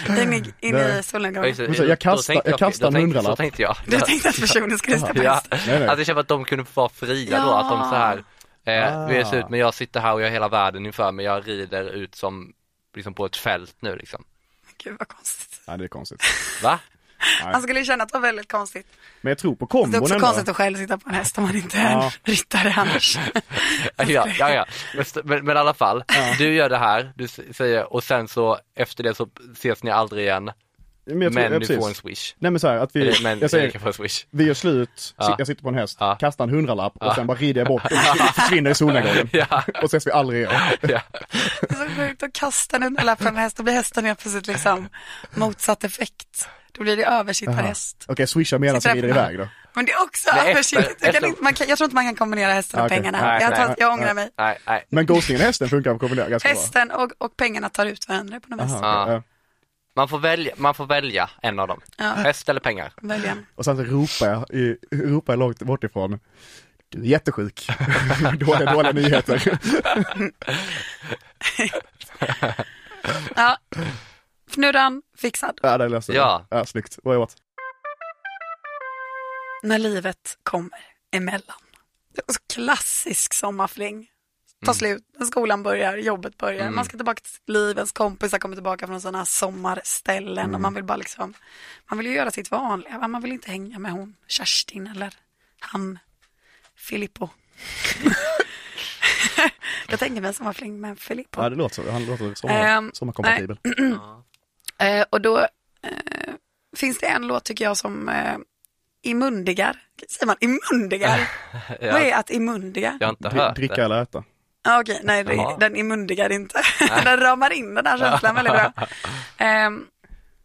Speaker 3: in i, in i
Speaker 4: Nej.
Speaker 5: Ja, just
Speaker 3: solnedgången.
Speaker 5: det.
Speaker 4: Men så, jag
Speaker 5: Då
Speaker 4: kastar-
Speaker 5: tänkte
Speaker 4: jag kastar en
Speaker 5: då tänkte- Så
Speaker 4: hundralapp.
Speaker 5: tänkte jag.
Speaker 3: Du tänkte att personen skulle sitta på
Speaker 5: *laughs* Ja,
Speaker 3: hästen?
Speaker 4: Nej, nej.
Speaker 5: att jag kände att de kunde få vara fria då,
Speaker 3: Ja.
Speaker 5: att de så här, eh,
Speaker 4: Ah.
Speaker 5: vi är slut men jag sitter här och jag har hela världen inför mig, jag rider ut som, liksom på ett fält nu liksom.
Speaker 3: Gud vad konstigt.
Speaker 4: Nej, det är konstigt.
Speaker 5: Va?
Speaker 3: Han skulle ju känna att det var väldigt konstigt.
Speaker 4: Men jag tror på
Speaker 3: Det är
Speaker 4: kombon
Speaker 3: också
Speaker 4: ändå.
Speaker 3: konstigt att själv sitta på en häst om man inte är en
Speaker 4: Ja.
Speaker 3: ryttare annars.
Speaker 5: Ja, ja,
Speaker 4: *laughs*
Speaker 5: ja. Men, st- men, men i alla fall, du gör det här, du s- säger, och sen så efter det så ses ni aldrig igen,
Speaker 4: Men, jag tror,
Speaker 5: men
Speaker 4: ja,
Speaker 5: du får en
Speaker 4: precis.
Speaker 5: swish.
Speaker 4: Nej men så här, att vi,
Speaker 5: Eller, men
Speaker 4: jag
Speaker 5: Erika
Speaker 4: säger,
Speaker 5: får en swish. *laughs*
Speaker 4: vi gör slut,
Speaker 5: Ja.
Speaker 4: jag sitter på en häst,
Speaker 5: Ja.
Speaker 4: kastar en hundralapp och sen bara rider
Speaker 5: *laughs*
Speaker 4: jag bort och försvinner i solnedgången.
Speaker 5: Ja.
Speaker 4: Och ses vi aldrig igen.
Speaker 5: Ja.
Speaker 3: Det är så sjukt att kasta en hundralapp på en häst, då blir hästen helt plötsligt liksom motsatt effekt. Då blir det översittarhäst.
Speaker 4: Okej, swisha medan
Speaker 3: Sitter
Speaker 4: jag
Speaker 3: där
Speaker 4: rider
Speaker 3: på-
Speaker 4: iväg då.
Speaker 3: Men det är också
Speaker 5: Nej,
Speaker 3: översittarhäst.
Speaker 5: efter-
Speaker 3: Jag, kan
Speaker 5: efter-
Speaker 3: inte- man kan- jag tror inte man kan kombinera hästen och
Speaker 4: Okej.
Speaker 3: pengarna.
Speaker 5: Nej,
Speaker 3: jag,
Speaker 5: nej.
Speaker 3: tar, jag ångrar mig.
Speaker 5: Nej, nej.
Speaker 4: Men ghostingen och hästen funkar på kombinera ganska
Speaker 3: Hästen och, och pengarna tar ut varandra på något
Speaker 4: bra.
Speaker 3: vis.
Speaker 4: Aha, okej,
Speaker 5: Ja.
Speaker 4: ja.
Speaker 5: Man får välja, man får välja en av dem. Häst eller pengar.
Speaker 3: Välj en.
Speaker 4: Och sen så ropar jag, i- ropar jag långt bort ifrån. Du
Speaker 5: *laughs*
Speaker 4: är jättesjuk. dåliga, dåliga nyheter.
Speaker 3: Ja. Fnurran fixad.
Speaker 4: ja, det löser
Speaker 5: Ja.
Speaker 4: det. Ja, snyggt. Vad har jag åt?
Speaker 3: När livet kommer emellan. Det är en så klassisk Alltså, sommarfling.
Speaker 4: Mm.
Speaker 3: tar slut, när skolan börjar, jobbet börjar, man ska tillbaka till sitt liv, ens kompisar kommer tillbaka från sådana här sommarställen och
Speaker 4: Mm.
Speaker 3: man vill bara liksom, man vill ju göra sitt vanliga, va? man vill inte hänga med hon Kerstin eller han Filippo. *laughs* Jag tänker mig en sommarfling med Filippo.
Speaker 4: Ja det låter så, han låter sommar,
Speaker 3: Ehm,
Speaker 4: sommarkompatibel.
Speaker 3: Eh, och då eh, finns det en låt tycker jag som eh, imundigar, säger man imundigar?
Speaker 5: Jag,
Speaker 3: Vad är att imundiga?
Speaker 5: jag har inte
Speaker 4: Dri-
Speaker 5: hört
Speaker 4: Dricka
Speaker 5: det.
Speaker 4: eller äta.
Speaker 3: Ja, okej, nej det,
Speaker 5: Jaha.
Speaker 3: den imundigar inte. *laughs* den ramar in den här känslan väldigt bra. Ehm,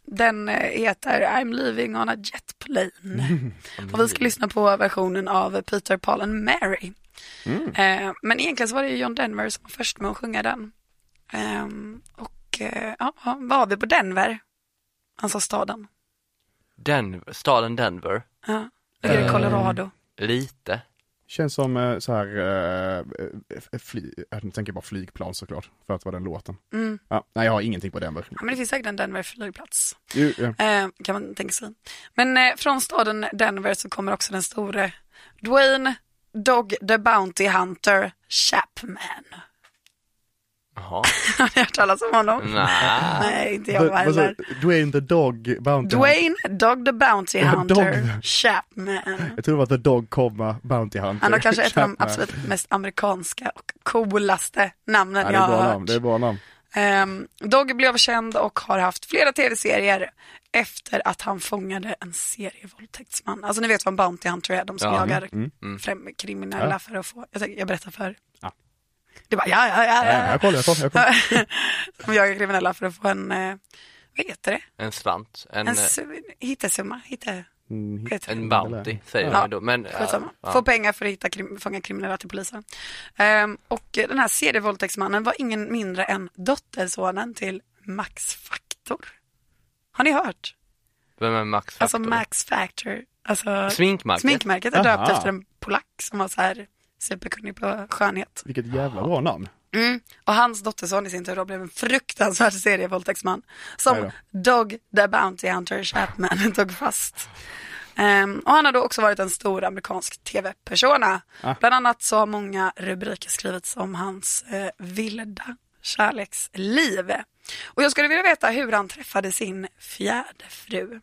Speaker 3: den eh, heter I'm leaving on a jet plane. och vi ska lyssna på versionen av Peter, Paul and Mary. Ehm, men egentligen så var det ju John Denver som var först med att sjunga den. Ehm, och eh, ja, ja, vad har vi på Denver? Han sa staden.
Speaker 5: Den, staden Denver,
Speaker 3: Ja, ligger i Colorado.
Speaker 5: lite.
Speaker 4: Känns som eh, så här, eh, eh, fly, jag tänker bara flygplan såklart, för att vara den låten.
Speaker 3: Mm.
Speaker 4: Ja, nej jag har ingenting på Denver.
Speaker 3: Ja, men det finns säkert en Denver flygplats.
Speaker 4: Jo, ja.
Speaker 3: Eh, kan man tänka sig. Men eh, från staden Denver så kommer också den store Dwayne Dog the Bounty Hunter Chapman. *laughs*
Speaker 5: Jaha,
Speaker 3: Har ni hört talas om honom?
Speaker 5: nej.
Speaker 3: Nej, inte jag
Speaker 4: Vad- vad sa
Speaker 3: heller.
Speaker 4: du? Dwayne the Dog Bounty Hunt.
Speaker 3: Dwayne Dog the Bounty Hunter
Speaker 4: Dog.
Speaker 3: Chapman.
Speaker 4: Jag tror det var The Dog, comma, Bounty Hunter.
Speaker 3: Han har kanske
Speaker 4: *laughs*
Speaker 3: ett av de
Speaker 4: Chapman.
Speaker 3: absolut mest amerikanska och coolaste namnen
Speaker 4: Ja, det
Speaker 3: jag
Speaker 4: är
Speaker 3: har
Speaker 4: bra
Speaker 3: hört.
Speaker 4: namn, det är bra namn.
Speaker 3: Ehm, Dogge blev känd och har haft flera tv-serier efter att han fångade en serievåldtäktsman. Alltså ni vet vad en Bounty Hunter är, de som
Speaker 5: Ja,
Speaker 3: jagar främ- kriminella för att få, jag, tänker, jag berättar för Du bara ja, ja, ja,
Speaker 4: Ja, jag
Speaker 3: ja.
Speaker 4: kollar, jag kollar. Jag kollar.
Speaker 3: De jagar kriminella för att få en, eh, vad heter det?
Speaker 5: En slant, en,
Speaker 3: En
Speaker 5: en, eh,
Speaker 3: su- hittesumma, hitte,
Speaker 4: Mm,
Speaker 3: vad heter det?
Speaker 5: bounty säger
Speaker 3: Ja.
Speaker 5: man ju då. Men, ja,
Speaker 3: Skitsamma.
Speaker 5: ja.
Speaker 3: Få pengar för att hitta krim, fånga kriminella till polisen. Ehm, och eh, den här serievåldtäktsmannen var ingen mindre än dottersonen till Max Factor. Har ni hört?
Speaker 5: Vem är Max Factor?
Speaker 3: Alltså Max Factor. Alltså,
Speaker 5: Sminkmärket?
Speaker 3: sminkmärket är döpt
Speaker 4: Aha.
Speaker 3: efter en polack som var så här superkunnig på skönhet.
Speaker 4: Vilket jävla bra namn.
Speaker 3: Mm. Och hans dotterson i sin tur då blev en fruktansvärd serievåldtäktsman som
Speaker 4: Nej
Speaker 3: Dog the Bounty Hunter Chapman *laughs* tog fast. Ehm, och han har då också varit en stor amerikansk tv-persona. Bland annat så har många rubriker skrivits om hans eh, vilda kärleksliv. Och jag skulle vilja veta hur han träffade sin fjärde fru.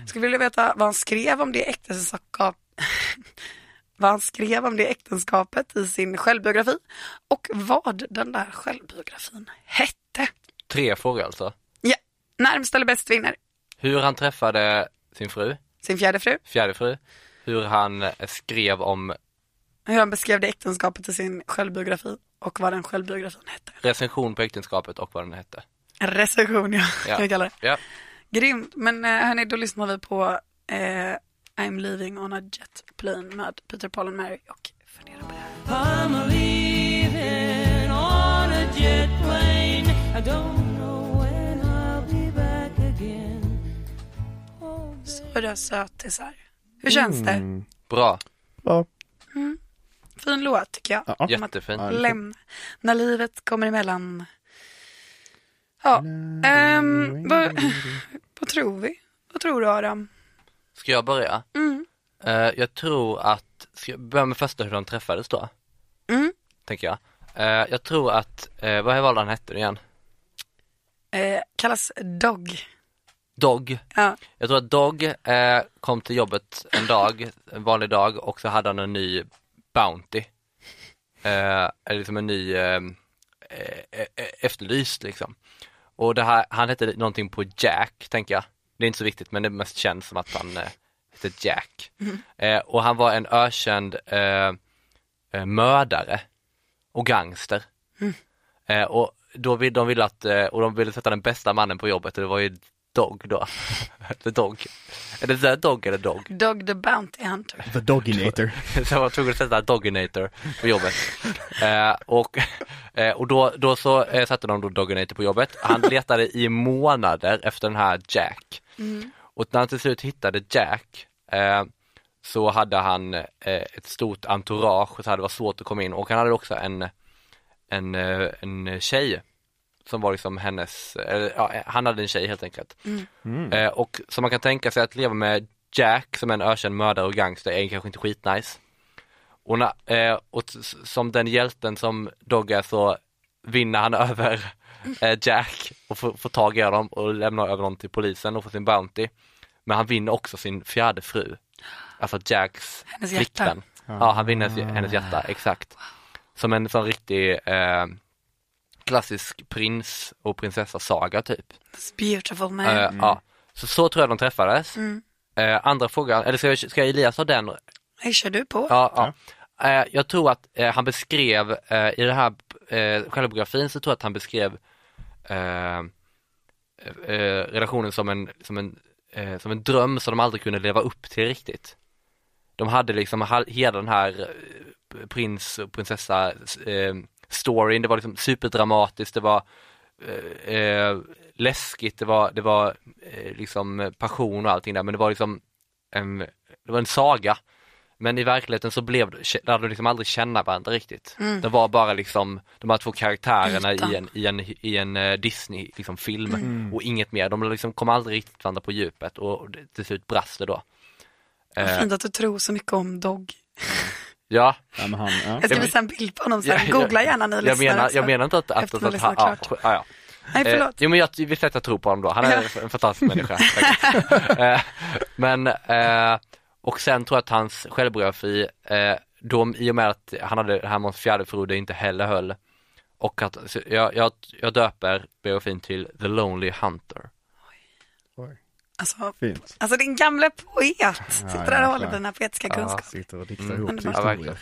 Speaker 3: Jag skulle vilja veta vad han skrev om det äktenskap vad han skrev om det äktenskapet i sin självbiografi och vad den där självbiografin hette.
Speaker 5: Tre frågor alltså.
Speaker 3: Ja, närmst eller bäst vinner.
Speaker 5: Hur han träffade sin fru,
Speaker 3: Sin fjärde fru.
Speaker 5: fjärde fru. Hur han eh, skrev om
Speaker 3: Hur han beskrev det äktenskapet i sin självbiografi och vad den självbiografin hette.
Speaker 5: recension på äktenskapet och vad
Speaker 3: *laughs*
Speaker 5: den hette.
Speaker 3: En recension ja, kan vi kalla det.
Speaker 5: Ja.
Speaker 3: Grymt, men eh, hörni då lyssnar vi på eh, I'm leaving on a jet plane med Peter Paul and Mary och funderar på det här.
Speaker 7: I'm leaving on a jet plane. I don't know when I'll be back again.
Speaker 3: Sådär sötisar. Hur känns
Speaker 4: Mm.
Speaker 3: det?
Speaker 5: Bra,
Speaker 4: Ja,
Speaker 3: Fin låt tycker jag.
Speaker 4: ja.
Speaker 3: Om att
Speaker 5: jättefint.
Speaker 4: Ja, det är
Speaker 3: Lämna när livet kommer emellan. Ja, ehm, vad, vad tror vi? Vad tror du Adam?
Speaker 5: Ska jag börja? Eh, jag tror att, ska jag börja med första hur de träffades då?
Speaker 3: Mm.
Speaker 5: Tänker jag. Eh, jag tror att, eh, vad var det han hette nu igen?
Speaker 3: Eh, kallas dog.
Speaker 5: Dog.
Speaker 3: Ja.
Speaker 5: Jag tror att Dog eh, kom till jobbet en dag, en vanlig dag och så hade han en ny Bounty. Eh, eller liksom en ny eh, eh, eh, efterlyst liksom. Och det här, han hette någonting på Jack, tänker jag. Det är inte så viktigt men det är mest känns som att han eh, hette Jack. Eh, och han var en ökänd eh, eh, mördare och gangster. Eh, och då vill, de ville att, eh, och de ville sätta den bästa mannen på jobbet och det var ju Dog då. *laughs* the Dog. Är det där Dog eller Dog?
Speaker 3: Dog the Bounty Hunter.
Speaker 4: The Doginator.
Speaker 5: *laughs* Så jag var tvungen att sätta Doginator på jobbet. Eh, och eh, och då, då så eh, satte de då Doginator på jobbet. Han letade i månader efter den här Jack. Och när han till slut hittade Jack eh, så hade han eh, ett stort entourage så det var svårt att komma in och han hade också en, en, eh, en tjej som var liksom hennes, eller, ja, han hade en tjej helt enkelt.
Speaker 3: Mm.
Speaker 5: Eh, och som man kan tänka sig att leva med Jack som är en ökänd mördare och gangster är kanske inte skitnice. Och, na, eh, och t- s- som den hjälten som Dogg är så vinner han *laughs* över eh, Jack och får, får tag i honom och lämnar över honom till polisen och får sin Bounty. Men han vinner också sin fjärde fru, alltså Jacks
Speaker 3: Hennes hjärta.
Speaker 5: flickvän. Ja, han vinner hennes- hennes hjärta, exakt. Som en sån riktig eh, klassisk prins och prinsessa-saga typ.
Speaker 3: This beautiful man.
Speaker 5: Eh, ja. Så, så tror jag de träffades. Eh, andra frågan, eller ska, jag, ska Elias ha den?
Speaker 3: Nej, kör du på?
Speaker 5: Ja, ja. Eh, jag tror att eh, han beskrev, eh, i den här eh, självbiografin så tror jag att han beskrev eh, eh, relationen som en, som, en, eh, som en dröm som de aldrig kunde leva upp till riktigt. De hade liksom ha- hela den här eh, prins och prinsessa eh, storyn, det var liksom superdramatiskt, det var eh, eh, läskigt, det var, det var eh, liksom passion och allting där, men det var liksom en, det var en saga. Men i verkligheten så blev det- lärde de liksom aldrig känna varandra riktigt. Det var bara liksom de här två karaktärerna
Speaker 3: Ytan.
Speaker 5: i en, i en, i en eh, Disney liksom, film och inget mer. De liksom kom aldrig riktigt varandra på djupet och det- till slut brast det då.
Speaker 3: Vad Fint att du tror så mycket om Dogg.
Speaker 5: Ja,
Speaker 4: Ja, men han, ja.
Speaker 3: Jag ska visa en bild på honom sen. Googla gärna ni
Speaker 5: jag
Speaker 3: lyssnare.
Speaker 5: menar,
Speaker 3: också.
Speaker 5: jag menar inte att, att,
Speaker 3: Efter
Speaker 5: att,
Speaker 3: man
Speaker 5: att, att,
Speaker 3: lyssnat
Speaker 5: att,
Speaker 3: klart.
Speaker 5: ja, ja.
Speaker 3: Nej,
Speaker 5: Eh,
Speaker 3: förlåt.
Speaker 5: jo men jag visst att jag tror på honom då, han är en
Speaker 3: *laughs*
Speaker 5: fantastisk människa. säkert. eh, men, eh, och sen tror jag att hans självbiografi, eh, de, i och med att han hade det här med hans fjärde fru, det inte heller höll. Och att, så jag, jag, jag döper biografin till The Lonely Hunter.
Speaker 3: Alltså,
Speaker 4: Fint.
Speaker 3: alltså din gamla poet sitter där och
Speaker 4: jäklar.
Speaker 3: håller dina poetiska kunskaper.
Speaker 4: Sitter och diktar ihop
Speaker 5: Mm. Ja, verkligen.
Speaker 4: historier.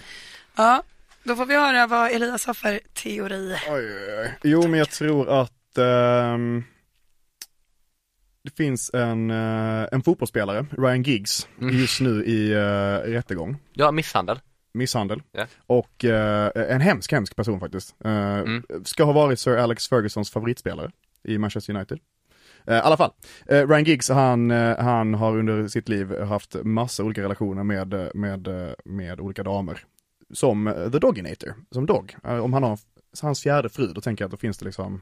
Speaker 3: Ja, då får vi höra vad Elias har för teori.
Speaker 4: Oj, oj, oj. Jo, men jag tror att ehm, det finns en, eh, en fotbollsspelare, Ryan Giggs, just nu i eh, rättegång,
Speaker 5: Ja, misshandel.
Speaker 4: misshandel.
Speaker 5: Ja.
Speaker 4: Och eh, en hemsk, hemsk person faktiskt. Eh, Ska ha varit Sir Alex Fergusons favoritspelare i Manchester United. Eh, I alla fall, eh, Ryan Giggs han, eh, han har under sitt liv haft massa olika relationer med, eh, med, eh, med olika damer. Som eh, The Doginator, som Dog. Eh, Om han har f- hans fjärde fru, då tänker jag att då finns det liksom,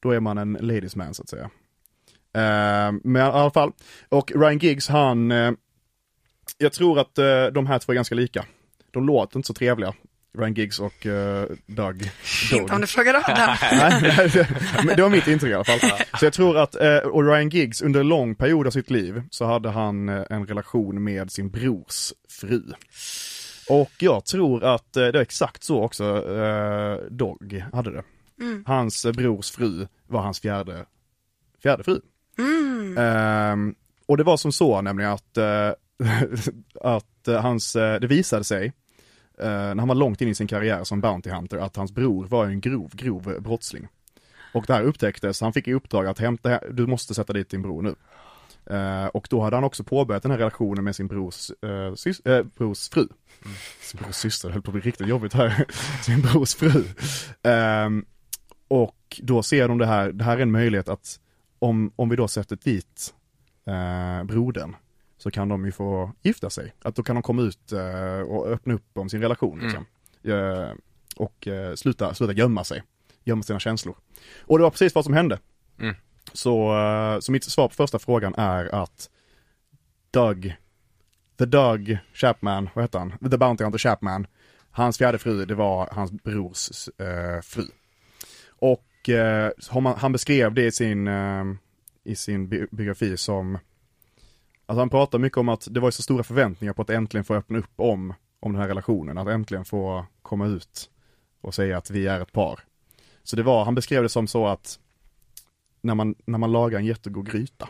Speaker 4: då är man en ladies man så att säga. Eh, Men i alla fall, och Ryan Giggs han, eh, jag tror att eh, de här två är ganska lika. De låter inte så trevliga, Ryan Giggs och eh, Doug. Dog.
Speaker 3: Inte om du frågar
Speaker 4: *laughs*
Speaker 3: Adam.
Speaker 4: Nej, nej, det- men det var mitt intryck i alla fall. Så jag tror att, eh, och Ryan Giggs under en lång period av sitt liv så hade han eh, en relation med sin brors fru. Och jag tror att eh, det var exakt så också eh, Dog hade det. Hans eh, brors fru var hans fjärde, fjärde fru. Ehm, och det var som så nämligen att, eh, *laughs* att eh, hans, eh, det visade sig eh, när han var långt in i sin karriär som Bounty Hunter att hans bror var en grov, grov brottsling. Och det här upptäcktes, han fick i uppdrag att hämta, du måste sätta dit din bror nu. Eh, och då hade han också påbörjat den här relationen med sin brors, eh, sys- eh, brors fru. Sin brors syster, det höll på att bli riktigt jobbigt här. *laughs* sin brors fru. Ehm, och då ser de det här, det här är en möjlighet att om, om vi då sätter dit eh, brodern så kan de ju få gifta sig. Att då kan de komma ut eh, och öppna upp om sin relation. Liksom. Eh, och eh, sluta, sluta gömma sig, gömma sina känslor. Och det var precis vad som hände. Så, eh, så mitt svar på första frågan är att Doug, the Doug Chapman, vad heter han? The Bounty Hunter Chapman, hans fjärde fru, det var hans brors eh, fru. Och eh, har man, han beskrev det i sin, eh, i sin bi- biografi som Alltså han pratar mycket om att det var ju så stora förväntningar på att äntligen få öppna upp om, om den här relationen, att äntligen få komma ut och säga att vi är ett par. Så det var, han beskrev det som så att när man, när man lagar en jättegod gryta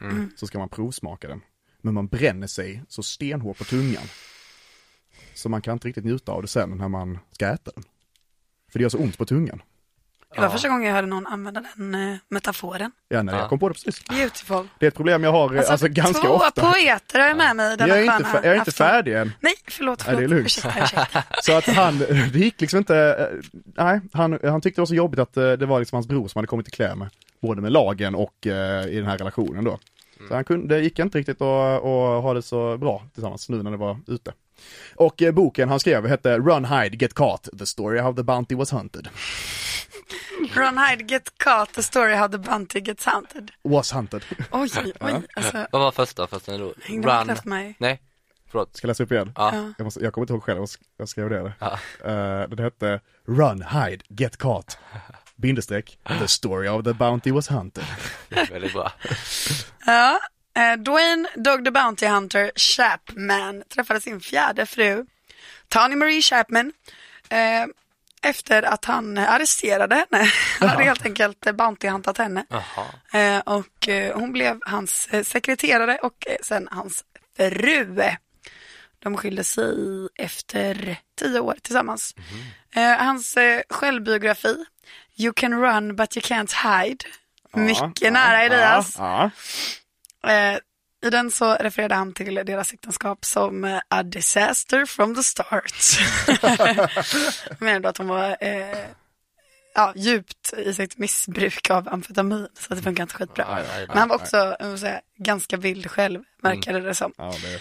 Speaker 3: Mm.
Speaker 4: så ska man provsmaka den. Men man bränner sig så stenhårt på tungan. Så man kan inte riktigt njuta av det sen när man ska äta den. För det gör så ont på tungan.
Speaker 3: Det var första gången jag hörde någon använda den eh, metaforen.
Speaker 4: Ja, nej, jag kom på det precis.
Speaker 3: Beautiful.
Speaker 4: Det är ett problem jag har eh, alltså, ganska
Speaker 3: två
Speaker 4: ofta.
Speaker 3: poeter har jag med mig denna
Speaker 4: Jag är inte,
Speaker 3: sköna
Speaker 4: fär- jag är inte
Speaker 3: afton.
Speaker 4: färdig än.
Speaker 3: Nej, förlåt,
Speaker 4: Nej,
Speaker 3: förlåt.
Speaker 4: det är lugnt.
Speaker 3: Ursäkta, ursäkta.
Speaker 4: Så att han, *laughs* det gick liksom inte, eh, nej, han, han tyckte det var så jobbigt att eh, det var liksom hans bror som hade kommit i kläm, både med lagen och eh, i den här relationen då.
Speaker 5: Mm.
Speaker 4: Så han kunde, det gick inte riktigt att, att ha det så bra tillsammans nu när det var ute. Och eh, boken han skrev hette Run Hide Get Caught, The Story How the Bounty Was Hunted.
Speaker 3: Ron Hyde, get caught, the story how the bounty gets hunted.
Speaker 4: Was Hunted. *laughs*
Speaker 3: Oj, oj, alltså.
Speaker 5: Vad var första? första då?
Speaker 3: Hängde man inte efter mig?
Speaker 5: Nej, Förlåt.
Speaker 4: Ska jag läsa upp igen?
Speaker 5: Ja.
Speaker 3: Ja.
Speaker 4: Jag, måste, jag kommer inte ihåg själv, jag sk- jag skrev det.
Speaker 5: Ja.
Speaker 4: Eh, den hette Run, Hide, Get Caught, bindestreck, The Story of the Bounty Was Hunted.
Speaker 3: *laughs*
Speaker 5: Väldigt bra.
Speaker 3: Ja, eh, Dwayne Dog the Bounty Hunter Chapman träffade sin fjärde fru, Tony Marie Chapman, eh, efter att han arresterade henne. Han hade helt enkelt eh, bounty huntat henne.
Speaker 5: Jaha.
Speaker 3: Eh, och eh, hon blev hans eh, sekreterare och eh, sen hans fru. De skilde sig efter tio år tillsammans. Eh, hans eh, självbiografi, You can run but you can't hide. Mycket nära Elias.
Speaker 4: Ja,
Speaker 3: Eh, I den så refererade han till deras äktenskap som eh, a disaster from the start. Han menade då att hon var eh, ja, djupt i sitt missbruk av amfetamin så att det funkar inte skitbra.
Speaker 5: Aj, aj, aj,
Speaker 3: Men han var också jag måste säga, ganska vild själv, märkade det som.
Speaker 4: ja, ja det,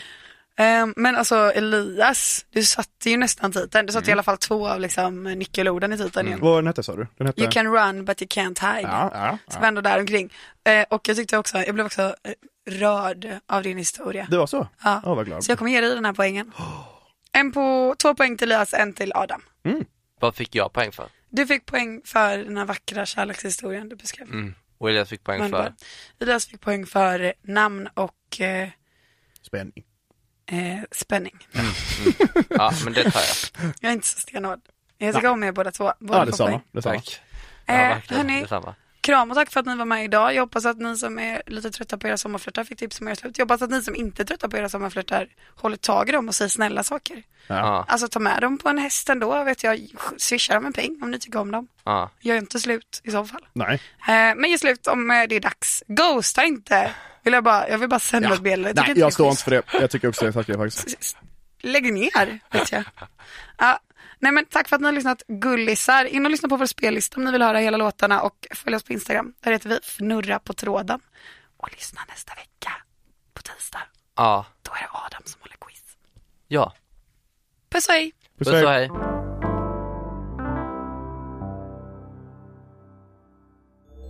Speaker 3: Eh, men alltså Elias, du satte ju nästan titeln. Du satte i alla fall två av liksom, nyckelorden i titeln. igen.
Speaker 4: vad den hette sa du? Den hette?
Speaker 3: You can run but you can't hide.
Speaker 4: Mm. Ja, ja,
Speaker 3: Så
Speaker 4: ja.
Speaker 3: var ändå där omkring. Eh, och jag tyckte också, jag blev också eh, rörd av din historia.
Speaker 4: Det var så?
Speaker 3: Ja.
Speaker 4: Ja, vad glad.
Speaker 3: Så jag kommer ge dig den här poängen. En på, två poäng till Elias, en till Adam.
Speaker 5: Vad fick jag poäng för?
Speaker 3: Du fick poäng för den här vackra kärlekshistorien du beskrev.
Speaker 5: Mm. Och Elias fick poäng
Speaker 3: Men
Speaker 5: för?
Speaker 3: bara- Elias fick poäng för namn och eh,
Speaker 4: Spänning.
Speaker 3: eh, spänning.
Speaker 5: Ja, men det tar jag.
Speaker 3: Jag är inte så stenhård. Jag tycker om er båda två. Båda
Speaker 4: Ja,
Speaker 3: får
Speaker 4: detsamma.
Speaker 3: poäng.
Speaker 4: detsamma.
Speaker 5: Tack. Ja,
Speaker 3: Eh,
Speaker 5: verkligen.
Speaker 3: hörni,
Speaker 5: Detsamma.
Speaker 3: Kram och tack för att ni var med idag. Jag hoppas att ni som är lite trötta på era sommarflörtar fick tips om era slut. Jag hoppas att ni som inte är trötta på era sommarflörtar håller tag i dem och säger snälla saker.
Speaker 5: Ja,
Speaker 3: Alltså ta med dem på en häst ändå, vet jag. Swisha dem en peng om ni tycker om dem.
Speaker 5: ja.
Speaker 3: Gör inte slut i så fall.
Speaker 4: Nej.
Speaker 3: Eh, men gör slut om eh, det är dags. Ghosta inte. Vill jag, bara, jag vill bara sända ett meddelande. tycker
Speaker 4: Nej,
Speaker 3: det är
Speaker 4: jag står
Speaker 3: schysst.
Speaker 4: inte för det. Jag tycker också det, tack jag faktiskt.
Speaker 3: Lägg ner, vet jag. Ja, nej men tack för att ni har lyssnat gullisar. In och lyssna på vår spellista om ni vill höra hela låtarna och följ oss på Instagram. Där heter vi Fnurra på tråden. Och lyssna nästa vecka på tisdag.
Speaker 5: Ja.
Speaker 3: Då är det Adam som håller quiz.
Speaker 5: Ja.
Speaker 3: Puss och hej!
Speaker 4: Puss och
Speaker 5: Puss och
Speaker 4: hej.
Speaker 5: hej.